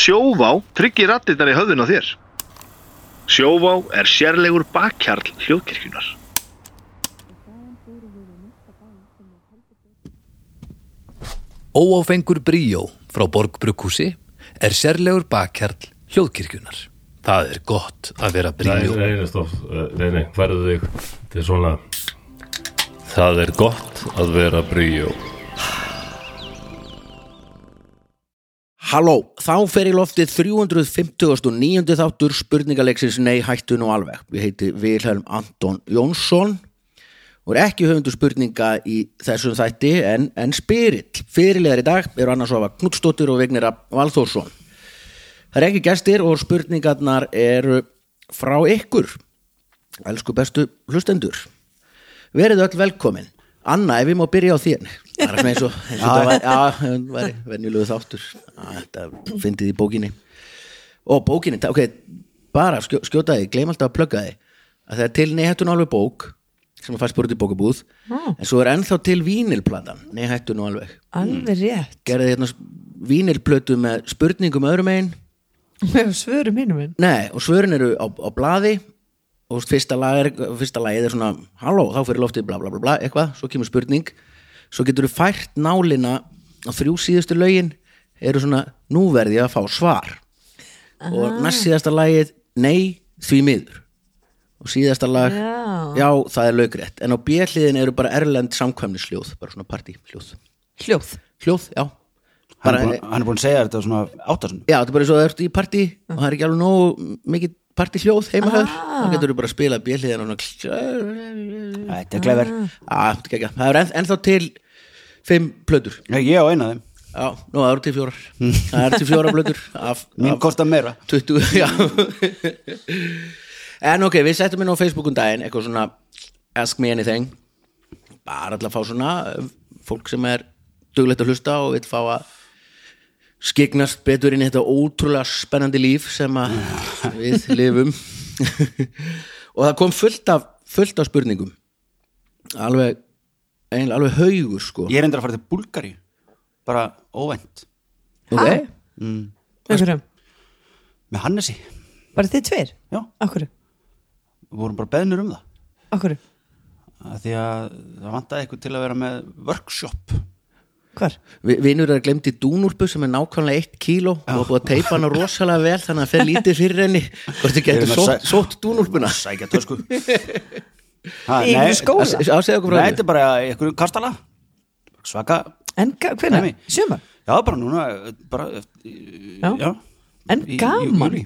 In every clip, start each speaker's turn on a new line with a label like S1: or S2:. S1: Sjóvá tryggir rattirnar í höfðun á þér. Sjóvá er sérlegur bakkjarl hljóðkirkjunar.
S2: Óáfengur bríó frá Borgbrukkúsi er sérlegur bakkjarl hljóðkirkjunar. Það er gott að vera
S3: Nei,
S2: bríó.
S3: nei, nei, stopp, Eh, nei, nei, færðu þig til svona Það er gott að vera bríjó
S4: Halló, þá fer í loftið 359. þáttur spurningaleiksins Nei hættu nú alveg. Ég heiti Vilhelm Anton Jónsson og er ekki höfundu spurninga í þessum þætti en, en spyrill. Fyrirlegar í dag eru annars ofa Knutstóttir og Vignir Valþórsson. Það er ekki gestir og spurningarnar eru frá ykkur, elsku bestu hlustendur. Verið öll velkomin. Anna, ef ég má byrja á þér Það er svona eins og, eins og það var, já, hún var venjulegu þáttur Já, Þetta fyndið í bókinni Ó, bókinni, ta- ok, bara skjó, skjóta því, gleym alltaf að plugga því að það er til neyhættun alveg bók sem að fæst búið í bókabúð en svo er ennþá til vínilplatan neyhættun alveg
S5: Mm.
S6: Alveg rétt
S4: gerði hérna s- vínilplötu með spurningum öðrum einn
S6: Með svöru mínum minn
S4: Nei, og svörin eru á, á blaði og þú veist, fyrsta, lag er, fyrsta lagið er svona halló, þá fyrir loftið bla bla bla, bla eitthvað, svo kemur spurning svo getur þú fært nálina á þrjú síðustu lögin eru svona, nú verði ég að fá svar og næst síðasta lagið nei, því miður og síðasta lag
S6: Já.
S4: það er laugrétt, en á bjöliðin eru bara erlend samkvæmnisljóð, bara svona partíhljóð
S6: Hljóð
S4: hljóð, já
S5: Hann
S4: bara,
S5: er búinn- hann er búin að segja þetta svona áttasun
S4: Já, þetta er bara eins og það ert í partí og það er ekki alveg nógu mikið partíhljóð heima höfður, þá getur þú bara að spila bjöliðin og svona
S5: Þetta er glefer
S6: Mm.
S4: Já, Ah, þetta er ekki Það er enn, ennþá til fimm plötur
S5: Ég á eina af þeim,
S4: Já, nú það eru til fjórar Það eru til fjórar plötur af,
S5: mín
S4: af
S5: kostar meira
S4: 20, já En ok, við settum inn á Facebookum daginn eitthvað svona ask me anything bara alltaf að fá svona eh, fólk sem er duglegt að hlusta og vil fá að skiknast betur inn í þetta ótrúlega spennandi líf sem að við lifum og það kom fullt af, fullt af spurningum alveg eiginlega alveg haugur sko
S5: Ég er endur að fara til Búlgari Bara óvænt
S4: okay.
S6: Með hverjum
S5: Með Hannesi,
S6: Bara þið tveir
S5: já,
S6: Akkur
S5: við vorum bara beðnir um það
S6: Akkur
S5: að Því að það vantaði eitthvað til að vera með workshop
S6: Hvar
S4: Vi- Vinur er glemt í dúnúrpu sem er nákvæmlega eitt kíló og búið að teipa hana rosalega vel þannig að það fer lítið fyrir henni hvort þið
S5: Erum
S4: getur
S5: að
S4: sótt,
S5: sæ-
S4: sótt dúnúrpuna
S5: Sækja tösku ha,
S6: Í einhverju skóla?
S5: það-
S4: Ásegðu okkur frá
S5: Nei,
S4: því.
S5: þetta er bara einhverju kastala Svaka
S6: En hvernig?
S5: Dæmi.
S6: Sjöma
S5: Já, bara núna eh, bara, eftir-
S6: Já.
S5: já.
S6: En
S5: Í- í
S6: gaman.
S5: júlí.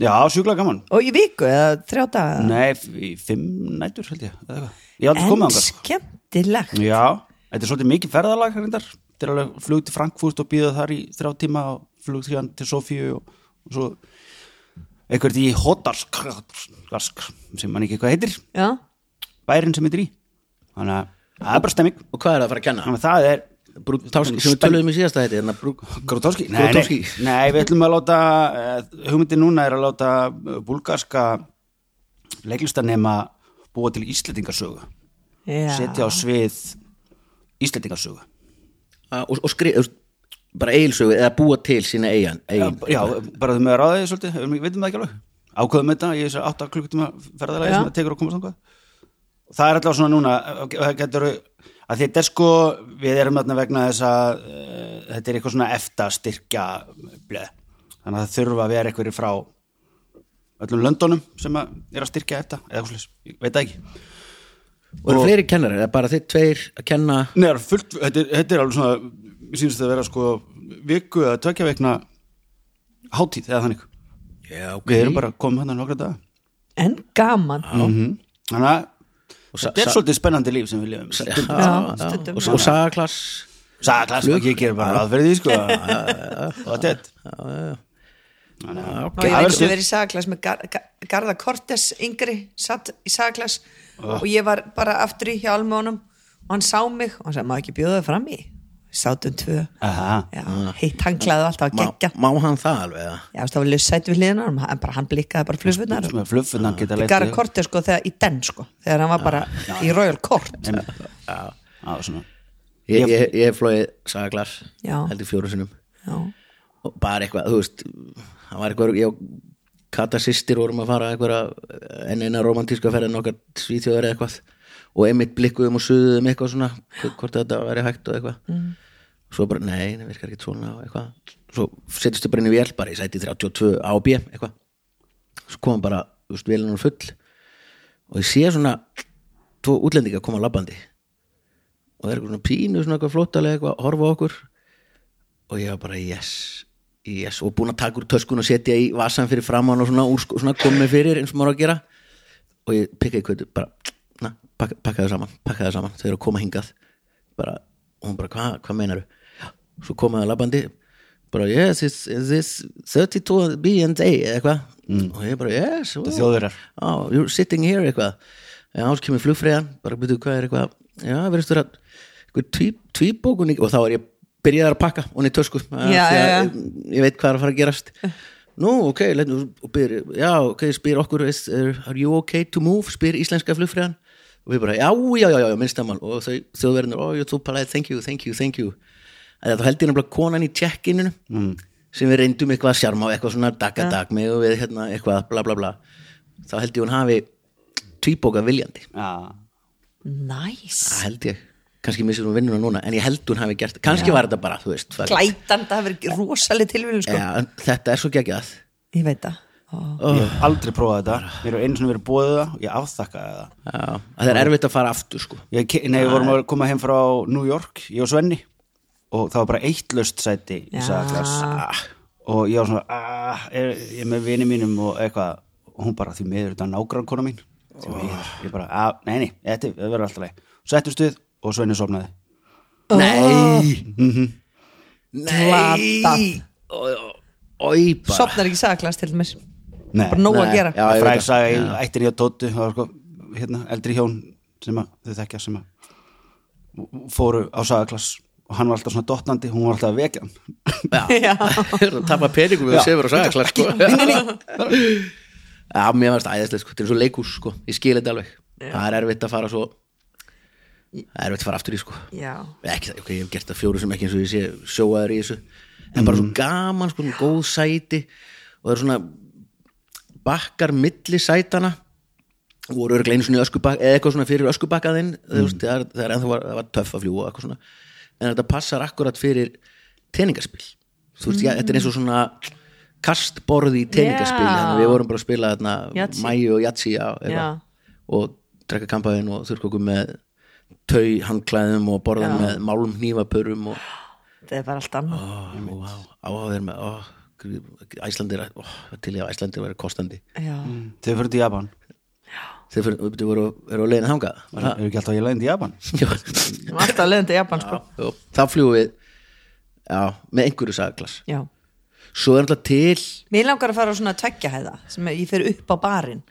S5: Já, sjúkla gaman
S6: Og í viku eða þrjá daga
S5: Nei, f- í fimm nætur held ég eða eitthvað. Ég hef aldrei komið
S6: En
S5: ángar
S6: skemmtilegt
S5: Já, þetta er svolítið mikið ferðalag reyndar. Þetta er alveg flug til Frankfurt og býða þar í þrjá tíma og flug til, til Sofíu og, og svo eitthvað í Hotarsk Rask, sem mann ekki eitthvað heitir
S6: Já
S5: bærin sem heitir í þannig að það er bara stemming
S4: og hvað er það að fara að kenna?
S5: þannig að það er
S4: Brútáski sem við töluðum í síðasta þetta hérna, brú...
S5: Grotowski? Nei,
S4: Grotowski.
S5: nei, nei, við ætlum að láta eh, hugmyndin núna er að láta eh, búlgarska leiklistanema búa til Íslendingasögu
S6: Já.
S5: setja á svið Íslendingasögu
S4: Að- og, og skrið bara eigilsögu eða búa til sína eigin,
S5: Já,
S4: eigin.
S5: já, bara þau með að ráða því svolítið, við veitum það ekki alveg ákveðum þetta, ég þessar 8 klukkutíma ferðalagi
S6: Já.
S5: sem það tekur að komast þangað það er alltaf svona núna ok, og það getur, að þetta er sko við erum þarna vegna þess að uh, þetta er eitthvað svona efta styrkja bleð, þannig að það þurfa að vera eitthvað frá öllum löndunum sem að er að styrkja efta eða eitthvað slis, ég veit það ekki
S4: og eru fleiri kennarar, eða bara þið tveir að kenna
S5: Nei, það er fullt, þetta, er- þetta er alveg svona, mér sínst að vera sko viku eða tvekja veikna hátíð eða þannig
S4: já,
S5: Við erum bara komið hann nokkra daga
S6: En gaman
S5: Þannig að
S4: Og sa-
S5: þetta er
S4: sa-
S5: svolítið spennandi líf sem við lifum
S4: já,
S6: Já,
S4: já.
S6: stundum.
S4: og, og sagaklass
S5: Saglas,
S4: Flug.
S5: sko, ég ger bara ráð fyrir því sko Og þetta
S6: Og ég
S5: Það
S6: veit
S5: verður
S6: sem
S5: stuð.
S6: verið í sagaklas með Gar Gar Garða Kortes yngri satt í sagaklas
S5: Ah.
S6: og ég var bara aftur í hjá almónum og hann sá mig og hann sagði, má ekki bjóða það fram í sátum tvö
S5: Aha.
S6: Já,
S5: Ah.
S6: heitt hanglaði alltaf að
S4: má,
S6: gegja
S4: má hann það alveg eða?
S6: Já, það var lössætt við hliðina á honum, en bara hann blikkaði bara flugfunnar
S5: Sem að fluffunan geta leitt
S6: Garða Kortes sko þegar í den sko þegar hann var
S4: Ah,
S6: bara í Royal Court
S5: Já, svona
S4: ég, ég, ég hef flóið sagaklass
S6: Já.
S4: heldur fjóru sinum
S6: Já,
S4: og bara eitthvað, þú veist hann var eitthvað, ég og Kata sýstir vorum að fara eitthvað enn eina romantíska ferðin okkar svíþjóður eða eitthvað og einmitt blikkuðum og suðuðum eitthvað svona hvort þetta væri hægt og eitthvað svo bara, nei, það virkar ekki svona og eitthvað svo setjumstu bara inn í vél bara í sæti 32 AB eitthvað svo kom bara, þú veist, vélinn var full og ég sé svona tvo útlendinga koma labbandi og það er eitthvað svona pínu svona eitthvað flóttalega eitthvað að horfa á okkur og ég var bara yes, yes og búin að taka úr töskun og setja í vasan fyrir framann og svona, úr, sko, svona komið fyrir eins og maður á að gera og ég pikkaði kvöldu bara, na, pakka, pakka það saman pakka það saman, þau eru að koma hingað bara, og hún bara, hvað hva meinaru svo komaði að labandi bara, yes, is, is this 32 B&A eða eitthvað og ég bara, yes, oh,
S5: Þjóðverjar.
S4: oh, you're sitting here eitthvað já, svo kemur flugfræðan, bara byrjuðu hvað er eitthvað já, verðist vera eitthvað tví- tvíbókun í- og þá er ég byrjaðar að pakka og í tösku, af
S6: Já,
S4: því að eh,
S6: já, já.
S4: ég veit hvað er að fara að gerast nú, ok, leitnum og byr, já, ok, spyr okkur is, er, are you ok to move, spyr íslenska flugfræðan og við bara, já, já, já, já, minnstamál og þau, þjóðverðinur, oh, you're so polite, thank you, thank you, thank you að þá held ég nefnilega konan í check-ininu
S6: Mm.
S4: sem við reyndum eitthvað að sjarma og eitthvað svona dagadag með og við hérna eitthvað bla bla bla þá held ég hún hafi tvíbóka viljandi,
S5: Já.
S6: Næs
S4: það held ég kannski missir hún vinnuna núna, en ég held hún hafi gert kannski var þetta bara, þú veist það-
S6: Glætan, það hefur verið rosaleg tilvíðum sko
S4: Já, en þetta er svo geggjað
S6: Ég veit það Ó.
S5: Ég hef aldrei prófað þetta Mér hefur einu sinni verið bóðið það og Ég afþakkaði það
S4: Já, að það er erfitt að fara aftur sko
S5: ég, ke- Nei, við vorum að koma heim frá New York Ég og Svenni Og það var bara eitt laust sæti í þessa klass. Og ég var svona "Ah, er, Ég er með vini mínum og eitthvað Og hún bara því miður þetta nágrann kona mín Því miður, ég bara, "Ah, nei, nei, þetta þetta verður alltaf leið Settum stuð og Svenni sofnaði
S4: Nei
S6: Glata.
S4: Nei Ói bara
S6: Sopnar ekki saklast til mér
S5: Nei.
S6: Bara nóg að
S4: Nei.
S6: gera
S4: Já, ég veit það.
S5: Frægsaga í ættir í að Tóttu Það var sko, hérna, eldri hjón sem að þau þekkja sem að fóru á sagaklass og hann var alltaf svona dottandi, hún var alltaf að vekja hann
S4: Já. Tappa peningum við
S5: Já.
S4: sefur og sagaklar sko Já, mér varst æðislega sko, þetta er svo leikús sko Ég skil þetta alveg Það er erfitt að fara svo Það er erfitt að fara aftur í sko
S6: Já
S4: ekki það, ok, ég hef gert það fjóru sem ekki eins og ég sé sjóaður í þessu en bara svo gaman, sko, góð sæti og það eru svona bakkar milli sætana voru örglega einu svona öskubak eða eitthvað svona fyrir öskubakkaðinn mm. það, er- það er ennþá var, það var töff að fljúa og eitthvað svona en þetta passar akkurat fyrir teningaspil þú veist, já, þetta er eins og svona kastborð í teningaspil
S6: Já.
S4: yeah. við vorum bara að spila þarna
S6: Yahtzee.
S4: mæju og jatsi já,
S6: Já.
S4: eitthvað. og drekka kampaðin og þurrkokum með tau handklæðum og borðan með málum hnífapörum og
S6: Það er bara allt annað
S4: áhafður með ó, æslandir, ó, til ég að æslandir verið kostandi
S6: Já
S4: Mm.
S5: þau fyrir til Japan,
S4: þeir fyrir, þau voru, voru að leiðin þangað var það?
S5: eru ekki alltaf að ég leiðin til Japan
S4: Já.
S6: Við erum Alltaf leiðin til Japan sko
S4: Jú, þá fljúum við já, með einhverju sagaklas
S6: Já
S4: svo er alltaf til
S6: Mér langar að fara á svona tveggjahæða sem ég fer upp á barinn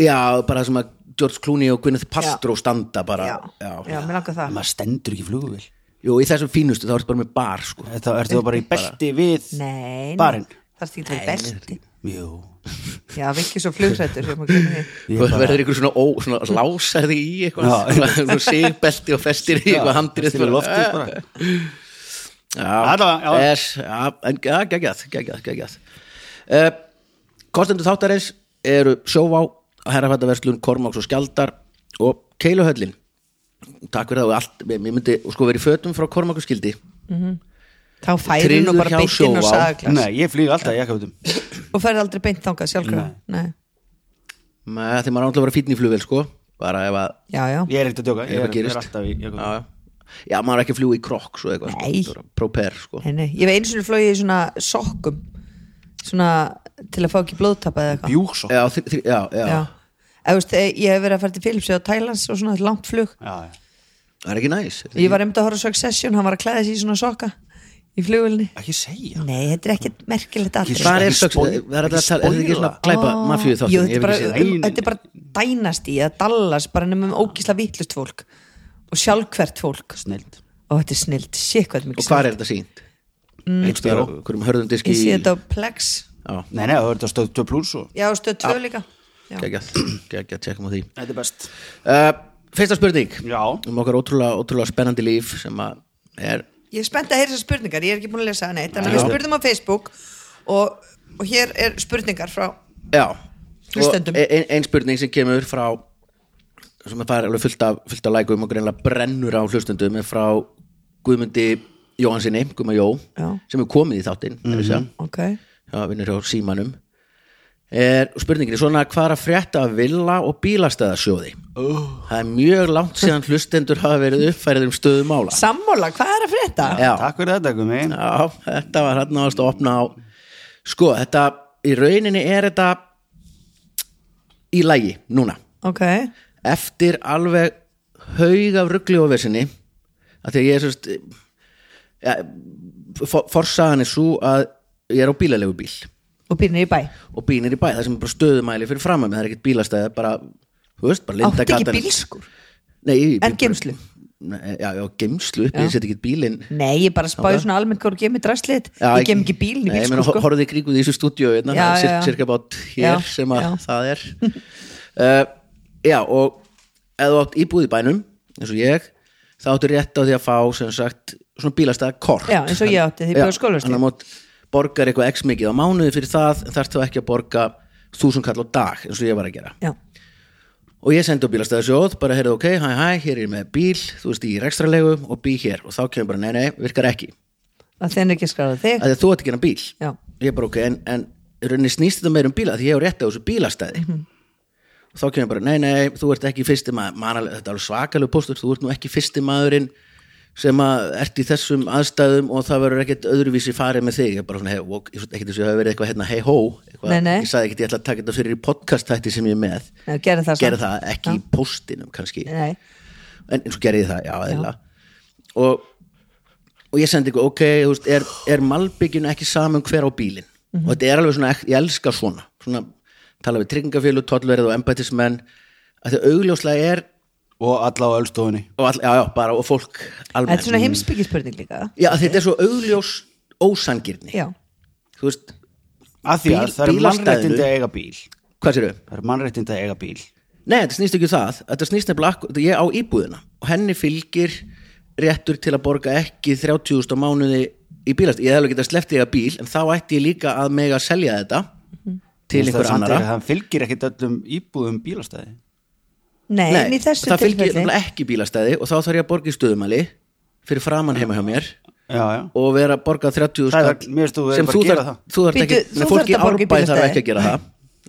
S4: já, bara sem að George Clooney og Gwyneth Paltrow standa bara
S6: Já, já, mér langar það
S5: maður stendur ekki flugvél
S4: Jú, í þessum fínustu þá ertu bara með bar sko.
S5: þetta ertu þá bara í belti við
S6: Nei,
S5: barinn
S6: Það er stíl fyrir belti
S5: Jú.
S6: Já, við ekki svo flugrættur sem að gera því
S4: Þú verður ykkur svona, ó, svona lásaði í eitthvað,
S5: Já.
S4: svona sigbelti og festir í eitthvað Eh, handrið
S5: Festir í loftið bara.
S4: Já,
S5: Allavega, já.
S4: er, já, en já, geggjað, geggjað, geggjað uh, Kostendur þáttarins eru sjóvá, herrafættaverslun, kormáks og skjaldar og keiluhöllin Takk fyrir það og allt, ég myndi sko verið í fötum frá kormáku skildi
S6: Þá færi nú
S4: Tryggður hjá
S6: bara beint inn
S4: Sjóvá.
S6: og sagaklas
S5: nei, ég flýg alltaf í jakkafutum
S6: Og færi aldrei beint þangað sjálfkrafa Nei,
S4: Með þegar maður ánlega að vera fínn í flugvél sko, bara ef að
S6: já, já
S5: ég er ekkert að djóka,
S4: Ef
S5: ég
S4: það
S5: er, ég
S4: gerist.
S5: er alltaf í
S4: Já,
S5: jakkafutum
S4: já. já, maður er ekki að fljúa í krokk svo eitthvað,
S6: Nei.
S4: sko, bara proper sko.
S6: Nei, nei, ég hef einu sinni flogið í svona sokkum svona til að fá ekki blóðtappa eða eitthvað
S5: bjúksokk
S4: já, Eh. þri, þri, já, já.
S6: Já, Eða, þú veist, eh, ég hef verið að fara til Philipsi á Thailands og svona þetta er langt flug
S5: Já, já.
S4: það er ekki næs
S6: Ég var einmitt að horfa á Succession, hann var að klæða sig í svona sokka í flugulni
S5: ekki segja
S6: Nei, þetta er ekkert merkilegt
S5: Ekki
S6: atrið
S4: Hvað er
S5: Ekki
S4: söks,
S5: spoil-
S4: það er alltaf að tala, er þetta
S5: ekki
S4: ekki svona glæpa
S6: Ó,
S4: mafíu
S6: Jú,
S4: þáttin, ég
S6: þetta er
S4: hef
S6: bara,
S4: ekki séð
S5: það.
S6: um, þetta er bara dænast í eða Dallas, bara nefnum ógísla vitlust fólk og sjálfkvært fólk
S5: snild
S6: og þetta er snilt, sé hvað þetta er
S4: það
S6: mikið
S4: og hvað er þetta sínt?
S5: HBO
S4: Hverjum hörðum diski
S6: Mm. Ég sé þetta á Plex,
S4: Já,
S5: nei, nei, það verður að stöð 2 plus og
S6: já, stöð 2 líka Já.
S4: Ah. geggjað, geggjað, tjekkum á því
S5: þetta er best
S4: uh, Fyrsta spurning
S5: já,
S4: um okkar ótrúlega, ótrúlega spennandi líf sem að er
S6: ég er spennt að heyra þessar spurningar ég er ekki búin að lesa það neitt þannig að við spurðum á Facebook og, og hér er spurningar frá
S4: Já Og e-
S6: Hlustendum.
S4: ein, ein spurning sem kemur frá sem er farið alveg fullt af, fullt af lækum og greinlega brennur á hlustendum er frá Guðmundi Jóhansinni, Guðma Jó
S6: Já.
S4: sem er komið í þáttinn mm
S5: Mhm.
S4: -hmm.
S6: ok,
S4: Já, vinnur hjá símanum er, og spurningin er svona hvað er að frétta af villa og bílastæðasjóði oh. það er mjög langt síðan hlustendur hafa verið uppfærið um stöðu mála
S6: sammála, hvað er að frétta?
S4: Já,
S5: Takk fyrir þetta, Gumi
S4: já, þetta var hann að opna á sko, þetta, í rauninni er þetta í lagi núna
S6: ok,
S4: eftir alveg haug af ruggli og vesinni að því að ég er sérst ja, for, forsagan er svo að ég er á bílalegu bíl
S6: og býrnir í bæ
S4: og bínir í bæ, það sem er bara stöðumæli fyrir framömi, það er ekkert bílastæði, bara þú veist, bara linda
S6: áttu ekki bílskur?
S4: Nei, ég-
S6: En geymslu?
S4: Nei, Já, já, geimslu, upp,
S6: Já.
S4: ég set ekki bílinn
S6: nei, ég bara spáði
S4: Ok.
S6: svona almennt hvað þú gemir dræslið
S4: Já,
S6: ég gem ekki bílinn í
S4: Nei, ég meina,
S6: bílskur
S4: hor-
S6: sko.
S4: horfðu í kringu því í þessu stúdíu hérna,
S6: Já,
S4: það er
S6: já, já.
S4: cir- cirka bát hér
S6: Já,
S4: sem að
S6: já.
S4: það er uh, Já, og ef þú átt íbúð í bænum, eins og ég þá áttu rétt á því að fá sem sagt svona bílastæða kort
S6: Já, eins og ég átti, því ég bjó í Skólavörðustíg.
S4: Þannig að mót borgar eitthvað x mikið á mánuði fyrir það en þarf þá ekki að borga þúsund kall á dag eins og ég var að gera
S6: Já.
S4: og ég sendi á bílastæðasjóð bara heyrðu ok, hæ hæ, hér er ég með bíl þú veist í rekstralegu og bý hér og þá kemur bara nei nei, virkar ekki
S6: að þenni ekki skráðu þig
S4: að því að þú átt ekki hennar bíl
S6: Já.
S4: ég bara ok, en, en í rauninni snýst þetta meir um bíla því ég hef rétt á þessu bílastæði
S6: Mhm.
S4: og þá kemur bara nei nei, þú ert ekki fyrsti maður manaleg, þetta er alveg svakalegu póstur, þú ert nú ekki fyrsti maðurinn sem að ert í þessum aðstæðum og það verður ekkert öðruvísi farið með þig ég bara svona, hey, ok, ég svona ekkert þess að hafa verið eitthvað hérna hey ho, eitthvað,
S6: Nei, nei.
S4: ég sagði ekkert ég ætla að taka þetta fyrir í podcast þætti sem ég er með
S6: Nei, gerðu það samt.
S4: Gerðu það, ekki
S6: Já.
S4: í póstinum kannski
S6: Nei.
S4: en eins og gerði ég það, já, eðla og, og ég sendi ykkur ok, þú veist, er, er malbygginu ekki saman hver á bílinn
S6: Mhm.
S4: og þetta er alveg svona, ek- ég elska svona svona, tala við tryggingafjölu, tollverið og embættismenn að þau augljóslega er
S5: Og alla á ölstofunni
S4: og, all, já, já, bara, og fólk
S6: þetta
S4: almennt
S6: er svona heimsbyggispurning líka
S4: já, að þetta er svo augljós ósangirni
S6: já,
S4: þú veist,
S5: Af því að
S4: Bíl-
S5: það eru
S4: bílastæðinu.
S5: mannréttindi að eiga bíl
S4: hvað sér þau?
S5: Það eru mannréttindi að eiga bíl
S4: Nei, þetta snýst ekki um það, þetta snýst nefnilega akkur, ég á íbúðina og henni fylgir réttur til að borga ekki 30.000 á mánuði í bílast ég hefði getað sleppt ég að bíl, en þá ætti ég líka að mega að selja þetta
S6: Mhm.
S4: til
S5: Það er
S4: einhver
S5: samt
S4: annara
S5: ekki- Það fylgir ekkit öllum íbúðum bílastæði
S6: nei, en í þessu
S4: það fylgir
S6: tilfelli
S4: nefnilega ekki bílastæði og þá þarf ég að borga í stöðumæli fyrir framann heima hjá mér
S5: Já, já
S4: og vera að borga 30.000
S5: Það er-
S4: kall
S5: mér finnst þú verður
S4: sem
S5: bara
S4: þú
S5: að gera
S4: þarf-
S5: það.
S4: þú þarf ekki,
S6: Bíddu, þú
S4: Nei,
S6: þarf
S4: fólk í
S6: að borga í
S4: árbæði þarf
S6: bílastæði.
S4: ekki að gera það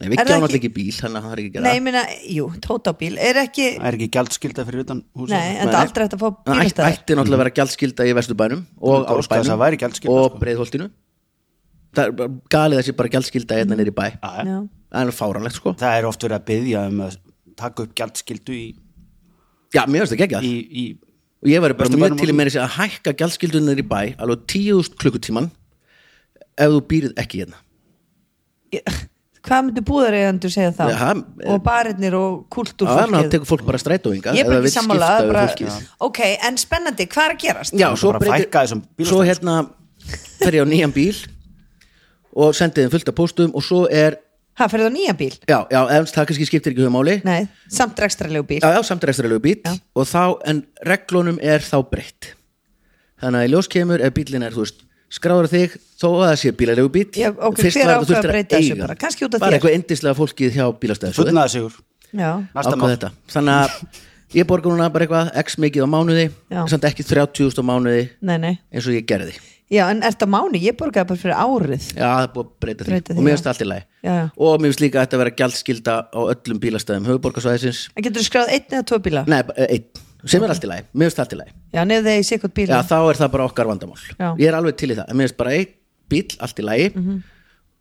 S4: Nei, við
S6: Er það
S4: gjáum alltaf
S6: ekki-
S4: ekki bíl, þannig að það er ekki að gera
S6: nei,
S4: það
S6: ég meina, jú, tótabíl er ekki,
S5: Það er ekki gjaldskylda fyrir utan húsið
S6: nei, en það
S4: Nei.
S6: aldrei hægt að fá
S4: Það ætti,
S6: bílastæði
S4: ætti náttúrulega að vera gjaldskylda í vesturbænum og
S5: Þetta óskaði Mm-hmm. þess að væri
S4: árbænum
S5: gjaldskylda,
S4: og
S5: sko.
S4: breiðholtinu það er bara galið þessi bara gjaldskylda hérna niður í bæ það
S5: Já, já.
S6: Mm. Já.
S4: er alveg fáranlegt sko
S5: Það er oft verið að byggja um að taka upp gjaldskyldu í,
S4: já, mér finnst það geggjað
S5: í, í
S4: og ég væri bara mjög
S5: Vesturbænum
S4: til í
S5: og-
S4: meira sér að hækka gjaldskyldu niður í bæ alveg tíuðust klukkutíman ef þú býrð ekki hérna
S6: Ég- hvað myndu búðareigandur segja þá
S4: Já, hann-
S6: og barirnir og kultúr
S4: það er að tekur fólk bara strætóinga
S6: ég er bara ekki sammála það er bara,
S4: já,
S6: ok, en spennandi, hvað er að gerast?
S4: já
S5: Það er
S4: svo,
S5: bara að fækka
S4: breytir,
S5: þessum
S4: svo
S5: bílastæðum,
S4: hérna fer ég á nýjan bíl og sendið þeim fullt af póstum og svo er
S6: það fyrir það nýja bíl,
S4: já, já, ef það kannski skiptir ekki um höfumáli
S6: nei, samt rekstrarlegu bíl
S4: já, já, samt rekstrarlegu bíl og þá, en reglunum er þá breytt þannig að í ljós kemur ef bílinn er, þú veist, skráður á þig þó að það sé bílalegu bíl
S6: Já, ok,
S4: Fyrst var
S6: hver
S4: þetta
S6: ákvað
S4: þurftir
S6: að breyta þessu bara? Kannski út af
S4: bara
S6: þér.
S4: eitthvað endislega fólkið hjá bílastæðisjóði
S5: fullnaða sigur
S6: já,
S5: Næsta mál.
S4: þetta þannig að ég borga núna bara eitthvað x mikið á mánuði
S6: Já.
S4: samt ekki 30.000 á mánuði
S6: nei, nei
S4: eins og ég gerði
S6: já, en er þetta mánu, ég borgaði bara fyrir árið
S4: já, það er búið að breyta því,
S6: Breyta því,
S4: og mér
S6: já.
S4: finnst það allt í lagi
S6: Já, já.
S4: og mér finnst líka að þetta vera gjaldskylda á öllum bílastæðum höfuborgarsvæðisins
S6: en getur þú skráð einn eða tvo bíla?
S4: Nei, bara, eh, einn, sem er allt í lagi, mér finnst það allt í lagi
S6: já, nefðu þegar ég sé hvort bíla
S4: Já, þá er það bara okkar vandamál
S6: Já. Mhm.
S4: Ég er alveg til í það, en mér finnst bara einn bíl allt í lagi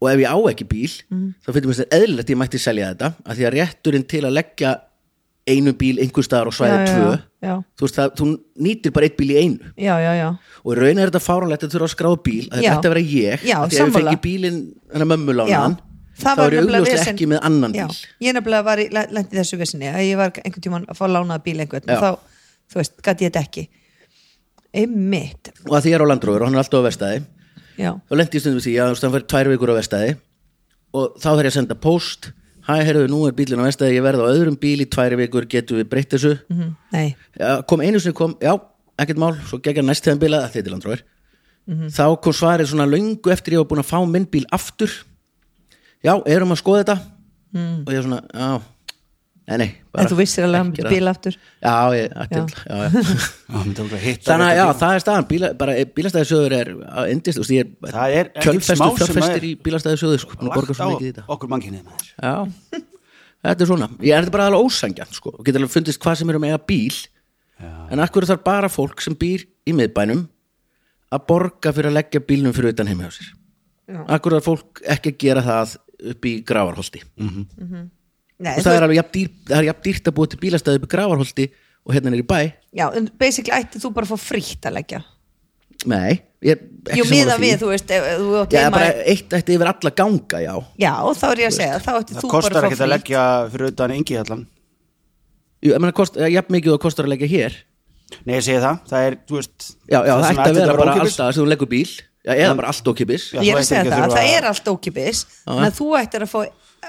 S4: og ef ég á ekki bíl þá finnst mér þetta eðlilegt að ég mætti selja þetta af því að rétturinn til að leggja einu bíl einhver staðar og svæði
S6: Já, já,
S4: tvö
S6: já.
S4: Þú, veist, það, þú nýtir bara einn bíl í einu
S6: já, já, já,
S4: og í raun er þetta fáránlegt að þurfa að skráða bíl að
S6: Já.
S4: þetta vera ég af því
S6: Já,
S4: að ef ég
S6: sammála.
S4: fengi bílinn hennar mömmulánaðan
S6: það
S4: þá
S6: var
S4: er ég
S6: nefnilega
S4: augljóslega
S6: vesen-
S4: ekki með annan bíl
S6: já, ég nefnilega var í, lendi þessu vissinni að ég var einhvern tímann að fá lánað bíl einhvern
S4: Já.
S6: og þá, þú veist, gæti ég þetta ekki einmitt
S4: og að því ég er á landróður og hann er alltaf á verstaði
S6: já,
S4: þá lendi ég stundum í því að þú veist, hann fyrir tvær vikur á vestæði og þá þarf ég að senda post hæ, heyrðu, nú er bílinn á vestæði, ég verð á öðrum bíl í tvær vikur, getum við breytt þessu
S6: mhm, nei
S4: já, kom einu sinni kom, já, ekkert mál, svo geggar næst þegar bilað þetta er til andróir
S6: Mhm.
S4: þá kom svarið svona löngu eftir ég var búin að fá minn bíl aftur já, erum að skoða þetta og ég svona, já nei, nei, bara
S6: Mhm. En þú vissir alveg að hann
S4: ekki
S6: bíl aftur
S4: já, ég, já. Já, já. þannig
S5: þannig
S4: að já, það er staðan bíla, bara, eh, bílastæðisjóður er að endist, þú veist, ég er,
S5: Það er ekkert smá
S4: kjölfestu
S5: sem
S4: fjárfestir
S5: er-
S4: í bílastæðisjóður sko, búin að borga svo mikið í þetta
S5: á okkur mannkynið maður
S4: Já, þetta er svona Ég er þetta bara alveg ósangjarn sko og getur alveg fundist hvað sem er um eiga bíl en akkur þarf bara fólk sem býr í miðbænum að borga fyrir að leggja bílnum fyrir utan heima hjá sér
S6: Já.
S4: Akkur þarf fólk ekki að gera það upp í gravarholti
S5: Mhm.
S6: Nei,
S4: og
S6: þú-
S4: það er alveg jafn dýr, það er jafn dýrt að búa til bílastæði upp í gravarholti og hérna er í bæ
S6: Já, en basically ætti þú bara að fá frítt að leggja
S4: Nei, ég er ekki
S6: Jú,
S4: sammála
S6: miða
S4: því.
S6: við, þú veist, ef, ef þú átt
S4: Já,
S6: heima
S4: bara eitt ætti yfir alla ganga, já
S6: Já, og þá er ég að segja, þá ætti
S5: það
S6: þú bara
S5: kostar
S6: að fá
S5: ekkert að
S6: frítt
S5: leggja fyrir utan yngi allan
S4: Jú, ég meina, kost, jafn mikið og það kostar að leggja hér
S5: nei ég segi það, það er, þú veist
S4: Já, já, það
S5: sem
S4: ætti að vera Mm. bara
S5: ókeypis.
S4: alltaf sem þú leggur bíl, já, eða bara allt okkipis
S5: Já,
S6: Ég er að
S5: þú ættir
S6: segja
S5: ekki að
S6: það,
S5: þurfa
S6: það
S5: að-
S6: er allt ókipis en að þú ættir að fá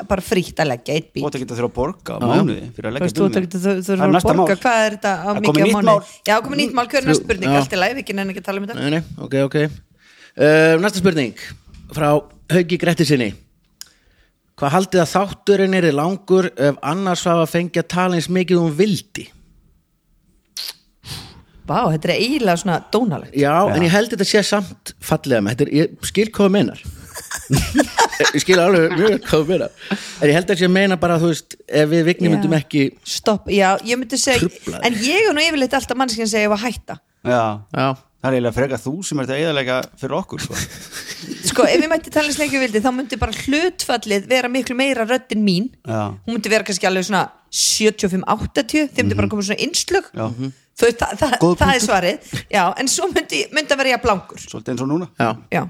S6: bara frítt að leggja eitt bíl
S5: þú átt ekki að þurfa að borga á mánuði fyrir að
S6: Þú
S5: leggja
S6: veist, þú
S5: bílnum.
S6: ættir að
S5: Það
S6: þurfa
S5: er
S6: að
S5: næsta
S6: borga
S5: mál.
S6: hvað er þetta á
S5: Það er
S6: mikið á
S5: komið nýtt
S6: mánu
S5: mál.
S6: Já, komið nýtt mál, hver er næst
S4: Þrjú,
S6: spurning,
S4: já.
S6: allt í læg, ekki nefnir ekki að tala um þetta
S4: Nei, nei, ok, ok uh, Næsta spurning frá Hauki Grettisinni Hvað haldið að þátturinn er langur ef annars hafa fengið að tala eins mikið um vildi?
S6: Vá, þetta er eiginlega svona dónalegt
S4: Já, en ég held þetta sé samt fallega með þetta er, ég skil hvað þú meinar Ég skil alveg mjög vel hvað þú meinar En ég held þetta sé að meina bara, þú veist ef við
S6: Já.
S4: vignum myndum ekki
S6: Stopp, já, ég myndi segja
S4: Truflaði.
S6: En ég er nú yfirleitt alltaf mannskinn segja ef að hætta
S5: já,
S4: Já,
S5: það er eiginlega frekar þú sem ert að eðalega fyrir okkur sko.
S6: Sko, ef ég mætti tala eins lengi vildi þá myndi bara hlutfallið vera miklu meira röddin mín
S5: Já. Mhm.
S6: Hún myndi vera kannski alveg svona 75-80 Þeim myndi bara koma svona innslög
S5: Já.
S6: Þau, það, það,
S5: Góð
S6: það er svarið Já, en svo myndi, myndi að vera ég blankur
S5: svolítið eins og núna
S4: já,
S6: já,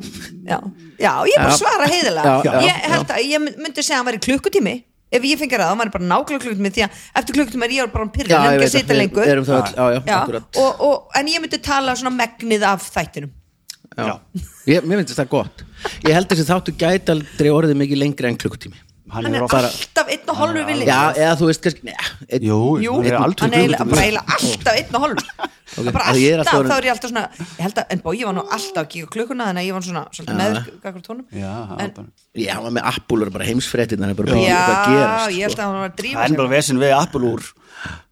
S6: já, já, ég bara
S4: Já.
S6: svara heiðilega
S4: Já, já,
S6: ég held að ég myndi segja að hann væri klukkutími ef ég fengi að það, hann væri bara nákvæmlega klukkutími því að eftir klukkutími er ég bara pyrrið
S4: já
S6: hann
S4: ég
S6: ekki að
S4: veit
S6: sita
S4: að við
S6: lengur
S4: erum það öll, já, já,
S6: Já,
S4: akkurat
S6: og, og, en ég myndi tala svona megnið af þættinum
S4: já. Ég, Mér finnst það gott Ég held þessi þáttu gæti aldrei orðið mikið lengri en klukkutími
S5: hann
S6: hann er
S5: er ofta
S6: alltaf einn og hálfu vilji
S4: Já, eða þú veist kannski Nei, einn-
S5: jú,
S6: Jú,
S5: hann er aldrei
S6: hann er eiginlega- bara
S5: klukkutími.
S6: eiginlega alltaf einn og hálf okay. bara
S4: að
S6: alltaf,
S4: ég er alltaf orðin-
S6: þá er ég alltaf svona ég held að, en bó, ég var nú alltaf að kíka á klukkuna þannig að ég var svona, svona meður tónum
S5: Já, það er
S6: en,
S5: bara-
S4: Já, hann var með appúlur bara heimsfréttin hann er bara búin
S6: já,
S4: að sko. gera
S6: ég held að hann var að drífa
S5: það er bara vesinn við Apple úr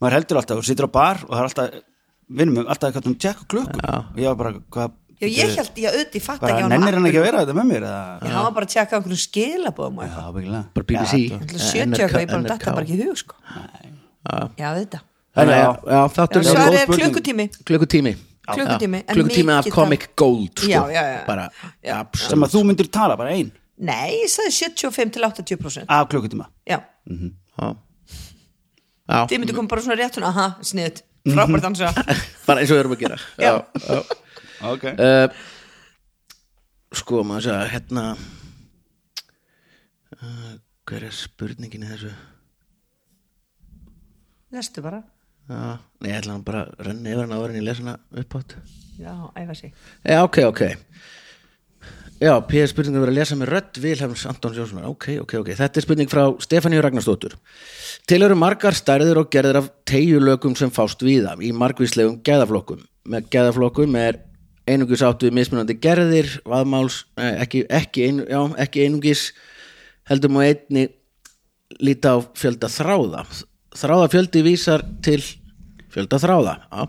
S5: maður heldur alltaf, þú situr á bar og það er alltaf vinnum við alltaf eitthvað um tjekk og klukku og ég var bara, hvað
S6: Já, ég held, já, auðvitað, ég fatt
S5: bara,
S6: ekki
S5: nennir hann ekki að vera þetta með mér eða?
S6: Já, hann var bara að tjekka okkur skilabóðum og
S5: já,
S6: eitthvað.
S5: byggilega
S4: bara BBC
S6: Ætla að 70 eitthvað, ég bara datta bara ekki í hug, sko. Já, þetta.
S4: Þannig
S5: Já.
S4: að, já, þáttur
S5: Já,
S6: Svar
S5: góð
S6: er
S5: spurning.
S6: klukkutími.
S4: Klukkutími
S6: Klukkutími,
S4: Já,
S6: en
S4: Klukkutími af
S6: mikið
S4: Comic
S6: tap-
S4: Gold, sko
S6: Já, já, já.
S4: Bara,
S6: Já.
S5: sem
S4: absolutt
S5: að þú myndir tala bara ein
S6: Nei, ég sagði 75 til 80%.
S5: af klukkutíma
S6: Já,
S4: Já, Já,
S6: þið myndi koma bara svona rétt hún, aha, sniðut, frábært hans
S4: bara eins og við erum að gera
S6: Já.
S4: já.
S5: okay.
S4: Uh, Sko, maður segja, hérna uh, Hver er spurningin í þessu?
S6: Lestu bara.
S4: Já, Ah, nei, ég ætla hann bara að renna yfir hann áður en ég lesa hana uppátt
S6: Já, æfa sig.
S4: Já, ok, ok Já, P.S. spurning er verið að lesa með rödd Vilhelms Antons Jónssonar, ok, ok, ok Þetta er spurning frá Stefaníu Ragnarsdóttur Til eru margar stærðir og gerðir af tegjulökum sem fást víða í margvíslegum gæðaflokkum Með gæðaflokkum er einungis átt við mismunandi gerðir, vaðmáls eh, ekki, ekki, ein, já, ekki einungis heldur má einni líta á fjölda þráða þráðafjöldi vísar til fjölda þráða já.